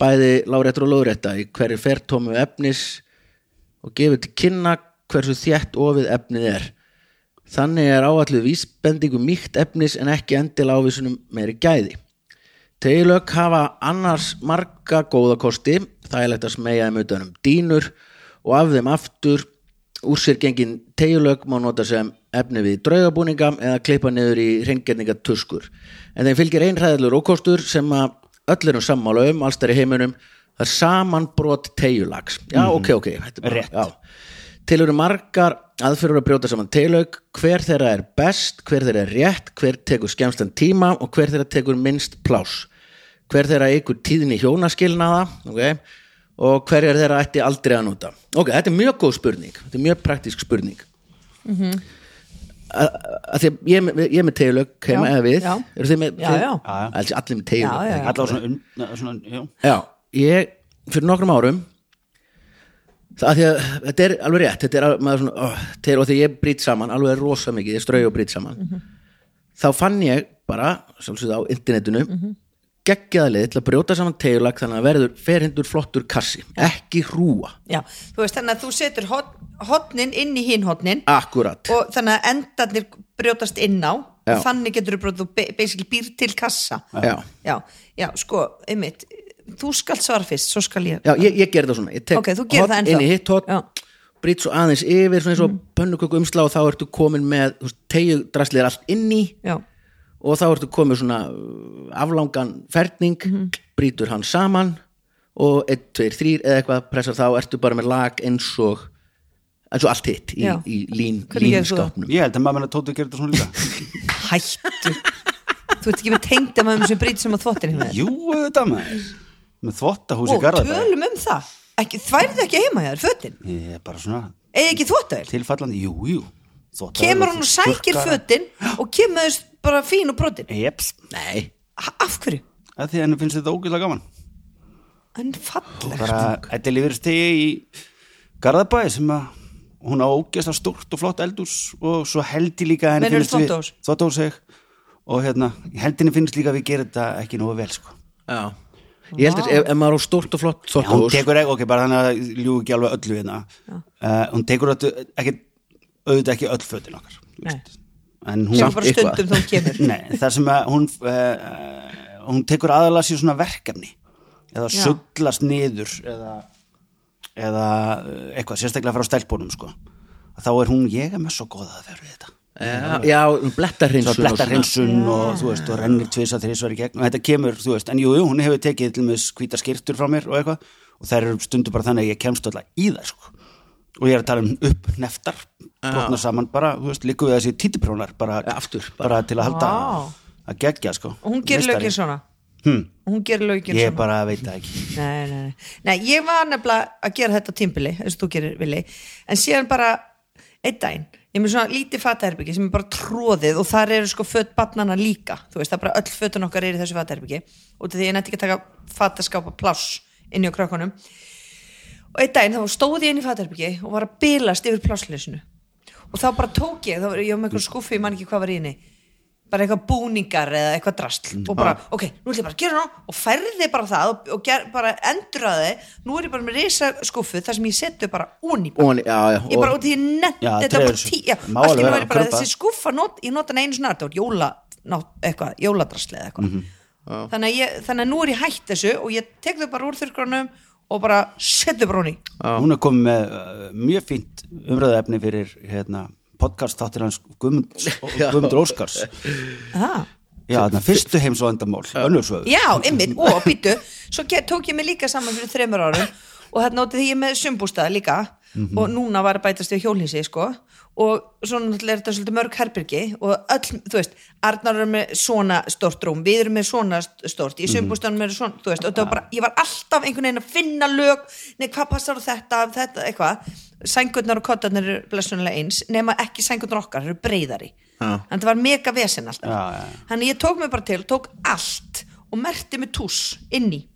S4: bæði láréttur og lóðrétta í hverju fertómu efnis og gefur til kynna hversu þétt ofið efnið er þannig er áalluð vísbendingu mýkt efnis en ekki endil ávísunum meiri gæði Tegjulög hafa annars marga góða kosti, það er legt að smegja þeim utan um dýnur og af þeim aftur úr sér gengin tegjulög má nota sem efni við draugabúninga eða klippa niður í hreingerninga tuskur. En þeim fylgir einræðilur ókostur sem að öll erum sammála um, alls þar í heiminum, það er samanbrot tegjulags. Já, ok, ok. þetta er bara-
S5: Rétt.
S4: Já. Til eru margar aðferður að brjóta saman tegilauk, hver þeirra er best, hver þeirra er rétt, hver tekur skemmstan tíma og hver þeirra tekur minnst pláss. Hver þeirra ykkur tíðin í hjónaskilnaða okay? og hver er þeirra ætti aldrei að nota. Ok, þetta er mjög góð spurning, þetta er mjög praktísk spurning.
S6: Mhm.
S4: Mm -hmm. Ég er með- ég er með tegilauk heima
S6: Já,
S4: eða við,
S6: já.
S4: eru þið með
S6: Já, já.
S5: Já, já.
S4: Allir með tegilauk.
S6: Já, já, já.
S5: allavega svona, un, svona já.
S4: Já, ég fyrir nokkrum árum það af því að þetta er alveg rétt þetta er, al- maður svona, ó, þetta er og því ég brýt saman alveg rosa mikið, ég strau og brýt saman þá fann ég bara sjálfsögðu á internetinu mm -hmm. leið til að brjóta saman tegulag þannig að verður ferhindur flottur kassi ekki hrúa,
S6: já, þú veist þannig að þú setur hotnin inn í hinn hotnin
S4: akkurat
S6: og þannig að endarnir brjótast inn á
S4: Já.
S6: þannig getur þú brjótið þú ba- basically býr til kassa
S4: Já.
S6: já, já, sko, einmitt þú skalt svara fyrst, svo skal ég
S4: Já, ég, ég gerði það svona Ég tek
S6: Ok, þú gerir
S4: horn
S6: það ennþá.
S4: inn í hitt
S6: Já.
S4: hot, brýt svo aðeins yfir svona eins og mm. pönnuköku umslá og þá ertu komin með tegjudraslir allt inn í
S6: já,
S4: og þá ertu komin með svona uh, aflangan ferning
S6: Mhm.
S4: brýtur hann saman og 1, 2, 3 eða eitthvað pressar þá ertu bara með lag eins og eins og allt hitt í,
S6: Já.
S4: í lín,
S6: Hvernig gerir þú það?
S4: línskápnum
S5: Ég held að maður menn að Tóti gerir þetta svona líka
S6: hættu þú ert ekki með tengda með um sem brýt sem á þvottin hérna
S5: Jú, þetta maður Með þvottahús í
S6: og
S5: garðabæði
S6: tölum um það ekki, þværið ekki heima hjá þér, fötin
S5: Ég er bara svona
S6: eða ekki þvottavel,
S5: tilfallandi, jú, jú Þvottavél
S6: kemur
S5: og
S6: hún og sækir
S5: þurrkar.
S6: fötin og kemur þess bara fín og brotin
S5: Jeps,
S4: Nei,
S6: Ha- af hverju,
S5: að því að henni finnst þetta ógæðlega gaman
S6: hann fallar
S5: bara, þetta er lífur stegi í Garðabæði sem að hún á ógæðslega stórt og flott eldús og svo heldi líka að henni
S6: Meinarðu
S5: við
S6: þvottahús?
S5: þvottahús seg og hérna, heldinni finnst líka að við gerum þetta ekki nógu vel sko
S4: já Ég held að ef, ef maður á stórt og flott
S5: Já, hún
S4: þorpahús
S5: tekur ekki, ok, bara þannig að ljú ekki alveg öllu hérna uh, hún tekur öllu, ekki, auðvitað ekki öll fötin okkar þú
S6: Nei.
S5: veist. en hún
S6: kemur bara
S4: eitthvað.
S6: stundum þá hún kemur
S5: Nei, það sem að hún uh, hún tekur aðalega sér svona verkefni eða
S6: Já.
S5: sullast niður eða, eða eh, eitthvað, sérstaklega frá stelpunum sko. þá er hún, ég er með svo góða að vera við þetta
S4: Já, já um blettarhinsun
S5: svo bletta hreinsun og þú veist, og rennir tvisa þrísvar í gegn og þetta kemur, þú veist, en jú, jú, hún hefur tekið til með skvítar skýrtur frá mér og eitthvað og þær eru stundu bara þannig að ég kemst alltaf í þær sko. og ég er að tala um upp neftar brotnar saman bara, þú veist, líku við þessi títiprónar bara,
S4: Ja, aftur,
S5: bara. til að halda
S6: Vá.
S5: að gegja, sko
S6: og hún gerir
S5: Meistari.
S6: lögin svona
S5: Hmm.
S6: hún gerir lögin
S5: Ég
S6: svona
S5: bara veit það ekki
S6: nei, nei, nei. nei, ég var nefnilega að gera þetta tímbili eins og þú gerir villi en síðan bara einn daginn ég er með svona lítið fataherbyggi sem er bara tróðið og þar eru sko fött barnana líka þú veist það er bara öll fötun okkar eru í þessu fataherbyggi út af því ég nætti ekki að taka fataskápa pláss inni á krökkunum og einn daginn þá stóð ég inn í fataherbyggi og var að bilast yfir plássleysinu og þá bara tók ég, þá var ég var með eitthvað skuffi ég man ekki hvað var í henni bara eitthvað búningar eða eitthvað drasl og bara, ok, nú ætlum ég bara að gera ná og færði bara það og, og ger, bara enduraði nú er ég bara með risa skuffu þar sem ég setu bara onni bara.
S4: Ón, já, já,
S6: ég bara
S4: og-
S6: út í nett
S5: Já,
S6: þetta var
S5: dregur
S6: bara
S5: þessu.
S6: tí, já,
S5: Má
S6: allt í
S5: alveg
S6: nú
S5: vera
S6: er ég bara
S5: krumpa.
S6: þessi skuffa not, ég nota hann einu svona þetta var jóla, ná, eitthvað, jóladrasli eða eitthvað
S5: Mhm.
S6: þannig, að ég, þannig að nú er ég hætt þessu og ég tek þau bara úr þurrkronum og bara setu bara onni
S5: Hún er komið með uh, mjög fínt umröðaefni fyrir hérna, podcast þáttir hans Guðmund, Guðmund Óskars
S6: ah.
S5: Já, þarna fyrstu heims og endamál Önnur svo
S6: Já, ymmit, og býtu Svo ge- tók ég mig líka saman fyrir þreymur árum Og þarna notið því ég er með sumbústað líka
S5: Mhm.
S6: Og núna var að bætast við hjólhísi sko. Og svona náttúrulega er þetta svolítið mörg herbyrgi Og öll, þú veist Arnar er með svona stort rúm Við erum með svona st- stort Í
S5: Mhm.
S6: sumbústaðanum er svona, þú veist og þetta var bara, Ég var alltaf einhvern veginn að finna lög Nei, hvað passar á þetta, þetta, eitthvað Sængurnar og kottarnar eru blessunlega eins Nema ekki sængurnar okkar, þær eru breyðari
S4: Já.
S6: Þannig þetta var mega vesen alltaf
S5: Já, já, já.
S6: Þannig ég tók mig bara til, tók allt og merti með tús inni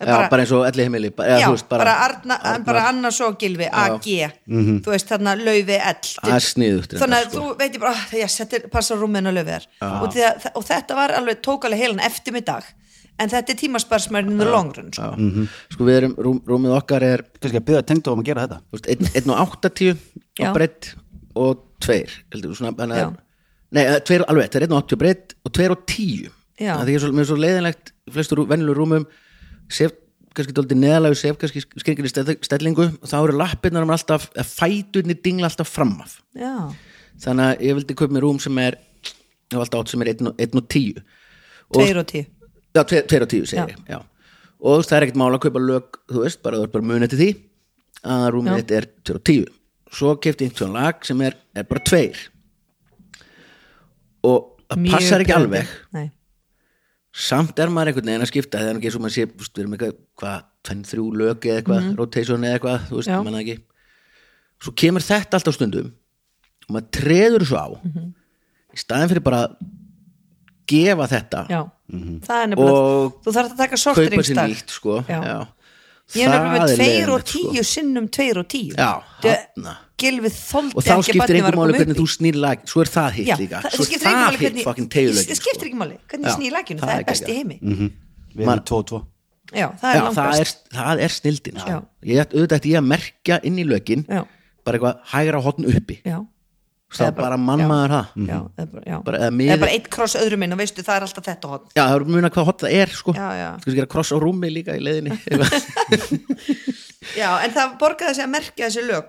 S4: Já, bara, eins og elli heimili bara,
S6: já,
S4: eða, þú
S6: bara,
S4: veist,
S6: bara, Arna, bara annars og gilfi AG,
S4: Mhm.
S6: þú veist þarna laufi L
S4: Það er sniðugt reyndar,
S6: þannig að
S4: sko.
S6: þú veitir bara, "Ah, já, settir passa rúminn og laufi þar og, því að, og þetta var alveg, tók alveg heilan eftir mig dag en þetta er tímasparsmærin in the long run sko.
S4: Já.
S5: Mhm.
S4: sko við erum, rúm, rúmið okkar er
S5: Kannski að byggja tengdu um að gera þetta
S4: þú veist, einn- einn og 80 á
S6: Já.
S4: breytt og tveir heldur, svona, þannig
S6: Já.
S4: að nei, eh, tveir, alveg, það er einn og 80 breytt og tveir og 10
S6: Já.
S4: það er svo, mér er svo leiðinlegt í flestu rú, venjuleg rúmum sef kannski dóldi neðalegu sef kannski skringir í stell- stellingu og þá eru lappirnar um alltaf, eða fæturnir dingla alltaf framaf
S6: já,
S4: þannig að ég vildi kaupa mér rúm sem er ég hef alltaf átt sem er einn og, einn og 10
S6: tveir og tíu
S4: Já, tve- tveir og tíu segir
S6: Já.
S4: ég já. og þú veist, það er ekkert mála að kaupa lög þú veist, bara þú ert bara munið til því að rúmið
S6: Já.
S4: þetta er tveir og tíu svo kefti ég einhvern lag sem er, er bara tveir og það
S6: Mjög
S4: passar ekki
S6: pirrandi.
S4: alveg
S6: Nei.
S4: samt er maður einhvern veginn að skipta það er nú ekki svo maður sé, þú veist, við erum eitthvað hvað, tvenn, þrjú lög eða eitthvað, rotation eða eitthvað þú veist,
S6: Mhm. Já.
S4: manna ekki svo kemur þetta alltaf stundum og maður treður svo á
S6: Mhm.
S4: í staðin fyrir bara að gefa þetta
S6: já, það er nefnilega
S4: Og
S6: þú þarf að
S4: Mhm.
S6: taka
S4: kaupa sér
S6: sortiringsdag
S4: nýtt sko.
S6: Já.
S4: Já.
S6: Ég er nefnilega
S4: Það
S6: með
S4: er
S6: tveir og
S4: leiðinlegt, sko.
S6: tíu sinnum tveir og tíu
S4: Já,
S6: þarna
S4: þarna.
S6: Gilvið þoldi
S4: og þá
S6: ekki að
S4: skiptir
S6: barnið
S4: einhver
S6: var að
S4: máli
S6: koma
S4: hvernig
S6: upp
S4: þú
S6: í.
S4: snýr lag svo er það hitt
S6: Já,
S4: líka svo
S6: það- það
S4: er
S6: skiptir engu máli
S4: hitt
S6: hvernig-
S4: fucking sko. tegulögin
S6: Það skiptir ekki máli hvernig ég
S4: Já,
S6: sný í lakinu,
S4: það
S6: það
S4: er
S6: er best í
S4: geggjað. Mhm.
S6: heimi
S5: við erum 2-2
S6: Já, það er
S4: Já,
S6: langt
S4: það
S6: best
S4: er, það er snildin
S6: Já.
S4: sko. ég ætti auðvitað ætti ég að merkja inn í lögin
S6: Já.
S4: bara eitthvað hægra hotn uppi
S6: Já,
S4: það
S6: Eða
S4: er bara
S6: bara-
S4: mannmaður
S6: já.
S4: það
S6: Mm. já, það er bara, já.
S4: Mhm. Bara- eða
S6: Það
S4: miðið-
S6: er bara eitt kross öðrum minn og veistu, það er alltaf þetta hot
S4: já, það er muna hvað hotn það er sko
S6: Já, já.
S4: Skal gera kross á rúmi líka í leiðinni
S6: Já, en það borgaði sig að merkja þessi lög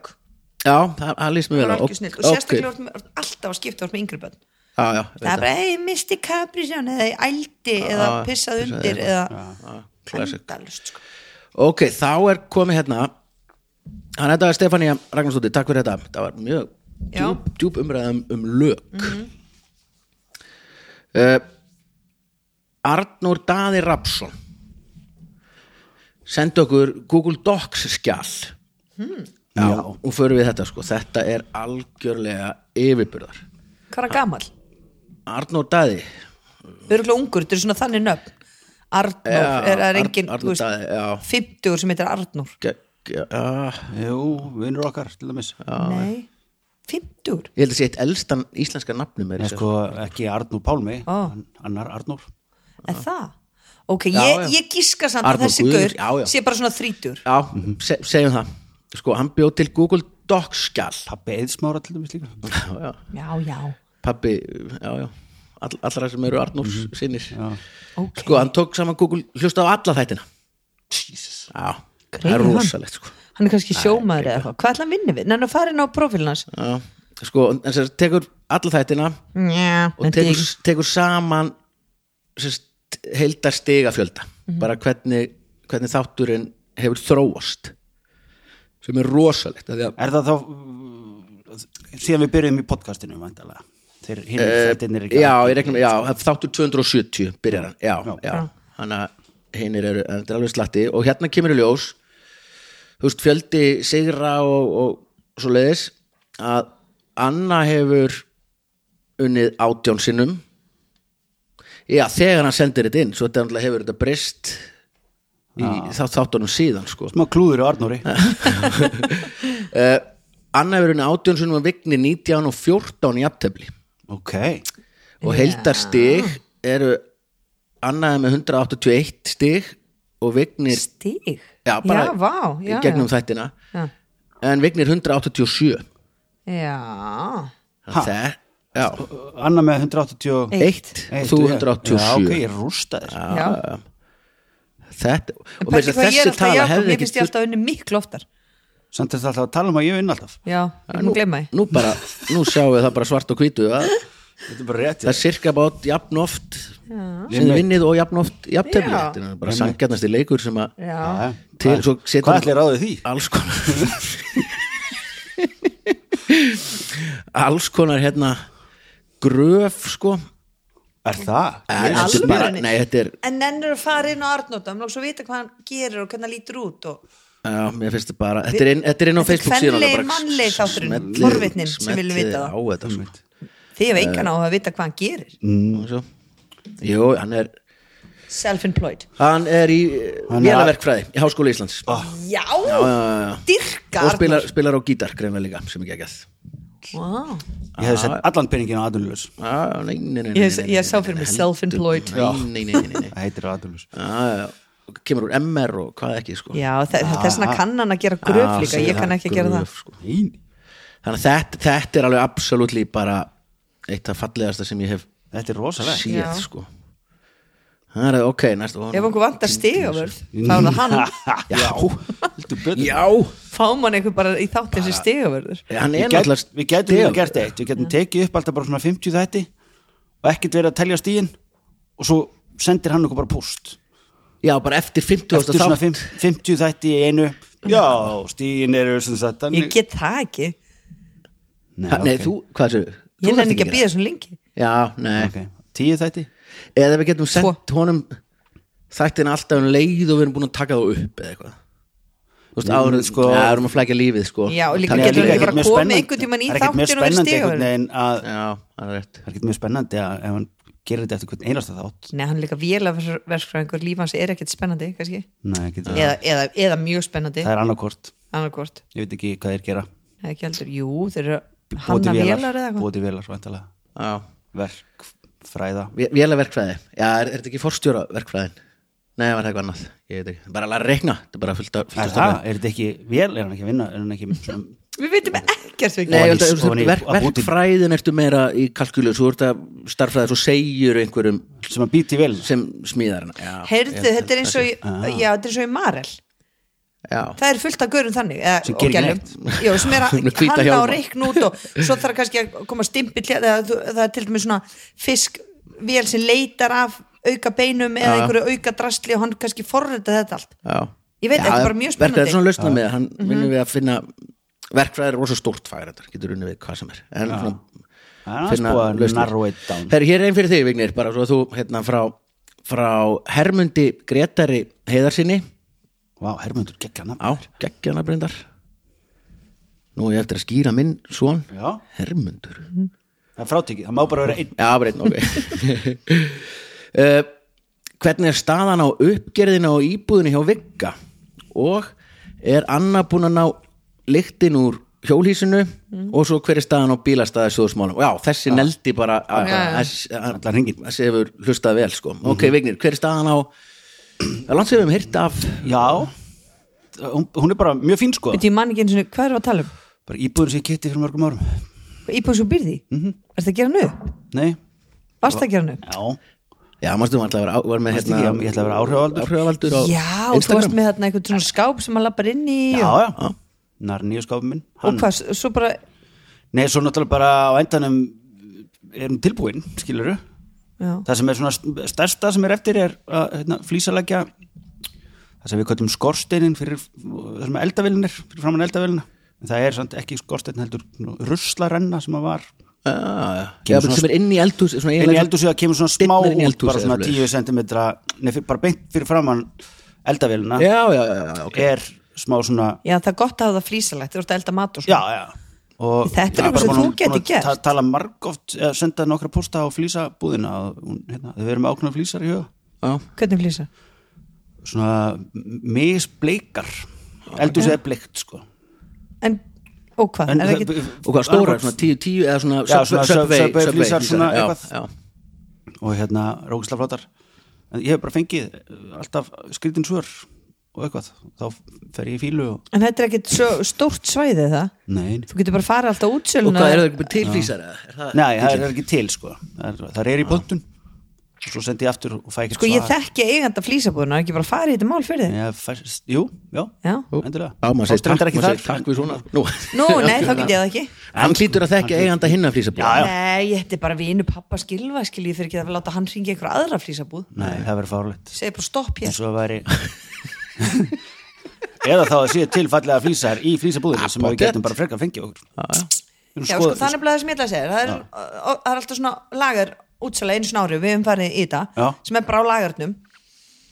S4: já, það það lýst mjög vel
S6: Það var
S4: á.
S6: algjör snill og
S4: Ok.
S6: sérstaklega okay. alltaf að skipta með yngri bönn
S4: já, já,
S6: Það er
S4: veit
S6: bara, ei, misti kaprisjón eða ég ældi eða
S4: já,
S6: pissaði
S4: pissaði
S6: undir eða
S4: classic.
S6: endalust sko.
S4: ok, þá er komið hérna hann þetta er Stefania Ragnarsdóttir, takk fyrir þetta það var mjög
S6: Já. Mhm.
S4: djúp, djúp umræðum um lög uh, Arnur Daði Rapsson sendi okkur Google Docs skjall
S6: Hmm.
S4: já, og förum við þetta sko þetta er algjörlega yfirburðar
S6: Hvað er gamall?
S4: Arnur Daði
S6: Öruglega ungur, þetta er svona þannig nöfn Arnór,
S4: Já,
S6: er það
S4: Arn-
S6: engin
S4: Arnór Daði, já. ah.
S6: 50 sem heitir Arnór
S4: ge- ge- já,
S5: jú, vinnur okkar til dæmis
S6: Nei, 50
S4: ég held að sé eitt elstan íslenska nafnum er
S5: Nei, sko, ekki Arnúr Pálmi
S6: Ó.
S5: hann- annar Arnúr
S6: Er það? Ok,
S4: Já,
S6: ég,
S4: já.
S6: ég gíska samt
S4: Arnór
S6: að þessi
S4: Guðjóns,
S6: gaur
S4: já, já.
S6: sé bara svona 30
S4: Já, se, segjum það Sko, hann bjóð til Google Docs skjall
S5: pappi Eðsmára til dæmis líka
S4: Já, já,
S6: Já, já,
S4: Pabbi, já, já all, Allra sem eru Arnúrs sinnis
S6: ok
S4: Sko, hann tók saman Google Hlusta á alla þættina Jesus. Já, það er
S6: Greyið hann.
S4: rosalegt sko.
S6: Hann er kannski sjómaður eða eitthvað Hvað ætla hann vinni við? Nei, hann farin á profílinn hans
S4: Já, sko, en þess að tekur alla þættina
S6: Já,
S4: og tekur, tekur saman sérst, heildar stigafjölda bara hvernig, hvernig þátturinn hefur þróast sem er rosalegt af því að
S5: er það þá uh, síðan við byrjum í podcastinu væntanlega. þeir hinir þættirnir ekki
S4: já, ég regnum, já, þáttur 270 byrjar hann, já, já,
S6: Já.
S4: þannig að hinnir eru, þetta er alveg slatti og hérna kemur í ljós þú veist, fjöldi sigra og, og svo leiðis að Anna hefur unnið átján sinnum já, þegar hann sendir þetta inn svo þetta náttúrulega hefur þetta breyst í þá, þáttunum síðan, sko
S5: smá klúður á Arnúri
S4: Anna hefur unnið átján sinnum og vigni 19 og 14 í aptefli
S5: ok,
S4: og heildarstig eru annaði með 181 stig og vignir
S6: Stig?
S4: já, bara
S6: já, vá, já,
S4: í gegnum
S6: já.
S4: þættina
S6: Já.
S4: en vignir 187
S6: Já,
S5: Ha?
S4: það, já,
S5: Anna með 181
S4: eitt og þú
S5: já. já, ok,
S4: 187
S5: ég rústa þér
S6: já, já.
S4: þetta,
S6: En
S4: og með þess
S6: pældi hvað
S4: að
S6: ég
S4: þessi
S6: er alltaf
S4: tala
S6: Jakob,
S4: hefði
S6: Mér
S4: ekki
S6: finnst ég alltaf unni miklu oftar
S5: samt er það alltaf að tala um að ég vinn alltaf
S6: Já, ég er nú glemma því
S4: nú bara, nú sjáum við það bara svart og hvítu að
S5: þetta er bara rétt
S4: það er cirka bát jafn oft sem þið vinnið og jafn oft jafn tefni,
S6: Já.
S4: þetta er bara sangjarnasti leikur sem að
S6: Já,
S4: til, svo setur
S5: hvað ætlir ráðið því?
S4: alls konar alls konar hérna gröf sko
S5: er það?
S4: Nei, þetta er
S6: alvörunni?
S4: bara, nei, þetta er,
S6: en nennir að fara inn á Arnóta Mér lóks að vita hvað hann gerir og hvernig hann lítur út og...
S4: já, mér finnst þetta bara þetta er inn, þetta er inn á
S6: Þetta er
S4: Facebook síðan
S6: kvenlegir, mannlegir þátturinn, forvitnin sem vill vita það.
S4: á þetta sko.
S6: Þið hefur engan á að vita hvað hann gerir
S4: Og svo- jú, hann er
S6: Self-employed
S4: hann er í
S5: Hann er- Ah.
S4: vélaverkfræði í Háskóla Íslands
S6: Já,
S4: já, já.
S6: dyrka
S4: og
S6: Arnór
S4: spilar, spilar á gítar greinlega líka sem ekki ekki að
S6: Vá.
S5: ég hefði sett allan peningin á atvinnulegs
S4: Ah, nei, nei, nei, nei,
S6: Ég-
S4: nei, nei,
S6: ég sá
S4: nei,
S6: fyrir mig
S4: heldur-
S6: self-employed.
S4: nei, nei, nei, nei, nei.
S5: það heitir á atvinnulegs
S4: Já, já, og kemur úr MR og hvað ekki sko.
S6: Já, þe- þess vegna kann hann að gera
S4: Já,
S6: gröf líka
S4: Ah, segir
S6: Ég kann
S4: hann,
S6: ekki að gera
S4: gröf,
S6: það
S4: sko. þannig að þetta, þetta er alveg absolutt bara eitt af fallegasta sem ég hef
S5: þetta er rosalegt
S6: Já.
S4: séð sko. það er ok, næstu
S6: Ef einhver vantar stigavörð, þá er það hann
S4: já,
S5: Heldur betur.
S4: já,
S6: Fá mann einhver bara í þáttin
S4: Ah.
S6: sem stigavörður
S4: hann
S5: Við
S4: er
S5: gæt-
S4: náttúrulega
S5: við getum
S4: stigavörður.
S5: líka gert eitt við getum tekið upp alltaf bara svona 50 þætti og ekkert verið að telja stíin og svo sendir hann okkur bara post
S4: já, bara eftir 50
S5: eftir svona fimm- 50 þætti í einu já, stíin eru sem sagt
S6: Ég get það ekki
S5: nei,
S4: Ha, nei,
S5: ok.
S4: þú, hvað þessu
S6: Ég nenni ekki að býða svona lengi
S4: já, nei,
S5: Ok, 10 þætti
S4: eða við getum sendt honum þættin alltaf um leið og við erum búin að taka þá upp eða eitthvað þú veist,
S5: Nei,
S4: áður,
S5: sko-
S4: sko, ja, erum að flækja lífið sko.
S6: Mm, Já, og líka
S4: Taka-
S5: Nei,
S6: getur
S5: líka
S6: hann ekki
S5: ekkert
S6: bara
S5: mjög
S6: komið
S5: spennandi.
S6: einhvern tímann í
S5: Það er ekkert mjög
S6: þáttinn og verið
S5: spennandi einhvern
S6: stigavörður?
S5: veginn að-
S4: já, það er rétt
S5: það er ekkert mjög spennandi að ef hann gerir þetta eftir hvern einasta þátt
S6: Nei, hann er líka vélaverkfræðingur, líf hans er ekkert spennandi, kannski
S5: Nei,
S4: Ah.
S5: getur,
S6: eða, eða, eða mjög spennandi,
S5: það er annarkort
S6: annarkvort
S5: ég veit ekki hvað þeir gera
S6: ekki heldur, jú, þeir eru að
S5: Búa til
S6: hanna vélar eða eitthvað
S5: búa til vélar væntanlega.
S4: Já.
S5: verkfræða
S4: Vélega verkfræði, já, er, er þetta ekki forstjóra verkfræðin? Nei, var það eitthvað annað Ég veit ekki, bara að læra að reikna Þetta er bara fullt af
S5: Er
S4: fullt af-
S5: það, er þetta ekki vél, er hann ekki að vinna er hann ekki svona-
S6: Við veitum ekkert við
S4: Nei, ég
S5: Ofan í-
S4: held að þú-
S5: ofan í-
S4: verk,
S5: að búti-
S4: verkfræðin ertu meira í kalkulu Svo ertu að starfræða, svo segir einhverjum
S5: sem að býti í vél
S4: sem smíðar hana Já,
S6: Heyrðu, þetta er eins og í,
S4: Ah.
S6: já, þetta er eins og í Marel
S4: já.
S6: Það er fullt af görum þannig eða,
S5: Sem
S6: og
S5: gerir ekki
S6: gælum. Jú, sem er að
S4: Með hvíta
S6: hanna og
S4: hjálma.
S6: reikna út og svo þarf kannski að koma stimpill eða þú- það er til dæmis svona fiskvél sem leitar af auka beinum eða einhverju auka drastli og hann kannski forrita þetta allt
S4: já
S6: Ég veit,
S4: Já,
S6: þetta er bara
S4: Verkfræði
S6: mjög
S4: er
S6: spennandi. Mhm.
S4: svona lausna með, hann vinnur við að finna Verkfræði er rosa stórt fagir þetta Getur unnið við hvað sem er En svona
S5: það er
S4: finna
S5: sko að
S4: lausnir.
S5: narrow it down
S4: Herri, hér er einn fyrir þig, Vignir, bara svo að þú hérna frá, frá Hermundi Gretari Heiðarsinni
S5: Vá, Hermundur geggja nafn
S4: á geggjana breyndar Nú er ég eftir að skýra minn svon
S5: Já. Eh,
S4: Hermundur
S5: það er frátekið, það má bara vera einn
S4: Já, breynd, ok uh, Hvernig er staðan á uppgerðina og íbúðinu hjá Vigga og er Anna búin að ná lyktin úr hjólhísinu og svo hver er staðan á bílastæði sjóðsmálum já, þessi neldi bara að-
S6: Já, já.
S4: að- að-
S5: Allan hringinn.
S4: þessi hefur hlustað vel sko. ok, Vignir, hver er staðan á að langt sem við hefum hýrt af
S5: já, hún, hún er bara mjög fín sko
S6: Veit ég man ekki eins og hvað er að tala um?
S5: bara íbúður sem ég geti fyrir mörgum árum
S6: Íbúið svo byrði? Mm -hmm. Er það að gera nú?
S5: nei,
S6: Varst það að gera nú?
S5: já,
S4: já, mannstu, hann ætlaði að vera, á- var með
S5: Manstu ekki, ég ætlaði að vera áhrifavaldur.
S4: áhrifavaldur á
S6: Já, og þú
S4: Instagram.
S6: varst með þarna einhvern svona skáp sem maður lappar inn í
S5: já,
S6: og,
S5: já. narníu skápum minn
S6: og hvað, svo bara
S5: nei, svo náttúrulega bara á endanum erum tilbúin, skilur
S6: já.
S5: það sem er svona st- stærsta sem er eftir er að hérna, flýsalækja það sem við köttum skorsteinin fyrir það sem er eldavélinir, fyrir framann eldavélina en það er samt ekki skorstein heldur nú, ruslarenna sem að var
S4: Já, já, já,
S5: svona-
S4: sem er inn í eldhús svona
S5: inn í
S4: eiginlega-
S5: eldhúsið að kemur svona smá
S4: Dyrnar inn í
S5: út
S4: eldhúsið
S5: bara svona
S4: eða
S5: 10 cm nefnir bara beint fyrir framann eldavélina
S4: já, já, já, já, ok
S5: er smá svona
S6: já, það er gott að hafa það flísalegt, þú ert að elda mat og
S5: já,
S6: svona
S5: já Og
S6: Þetta er
S5: bara
S6: eitthvað sem
S5: búin-
S6: þú getur
S5: búin að
S6: gert.
S5: ta- tala margóft, eða senda nokkra posta á flýsabúðina og hún, hérna, þau verðum með ákveðna flýsar í huga
S4: já.
S6: Hvernig flísa?
S5: svona misbleikar eldur sér bleikt sko
S6: En, og hvað?
S5: En
S6: er
S5: það-
S6: ekki,
S4: og hvað stóra, svona 10-10 eða svona
S5: Já,
S4: sub-
S5: svona
S4: Subway
S5: Subway
S4: Subway
S5: flísar,
S4: flísar,
S5: svona
S4: já,
S5: eitthvað.
S4: já.
S5: og hérna rókislega flottar en ég hef bara fengið eh, alltaf skritin svör og eitthvað þá fer ég í fílu og
S6: en þetta er ekkit svo stórt svæði það
S5: nei,
S6: Þú getur bara að fara alltaf
S4: og
S6: útsöluna
S4: hvað er það ekki til flísar eða? Er það-
S5: nei það er ekki til sko það er, það er í bóttun og svo sendi ég aftur og fæ ekki
S6: Sko ég þekki eiganda flísabúðuna, ekki bara fara í þetta mál fyrir þig
S5: ég, fæst, jú, já,
S6: Já.
S5: endilega
S4: já, maður segir
S5: Ástin reyndar
S4: takk,
S5: ekki
S4: maður
S5: þar.
S4: segir takk við svona Nú.
S6: Nú, nei, þá get ég það ekki
S4: hann hlýtur að þekki eiganda hinna flísabúð
S5: já.
S6: Nei, ég hætti bara vinu pappa skilva skil ég fyrir ekki að láta hann ringi einhver aðra flísabúð
S5: nei, það verður fárlegt
S6: Segir bara stopp hér
S5: eins og það væri eða þá að sé til fallega flýsar í flýsabúðinu sem við getum bara frekar fengið okkur
S6: Já, sko, það er nefnilega það sem ég ætla að segja það er, og- það er alltaf svona lagar útsala einu snári, við hefum farið í þetta
S5: Já.
S6: sem er bara á lagarnum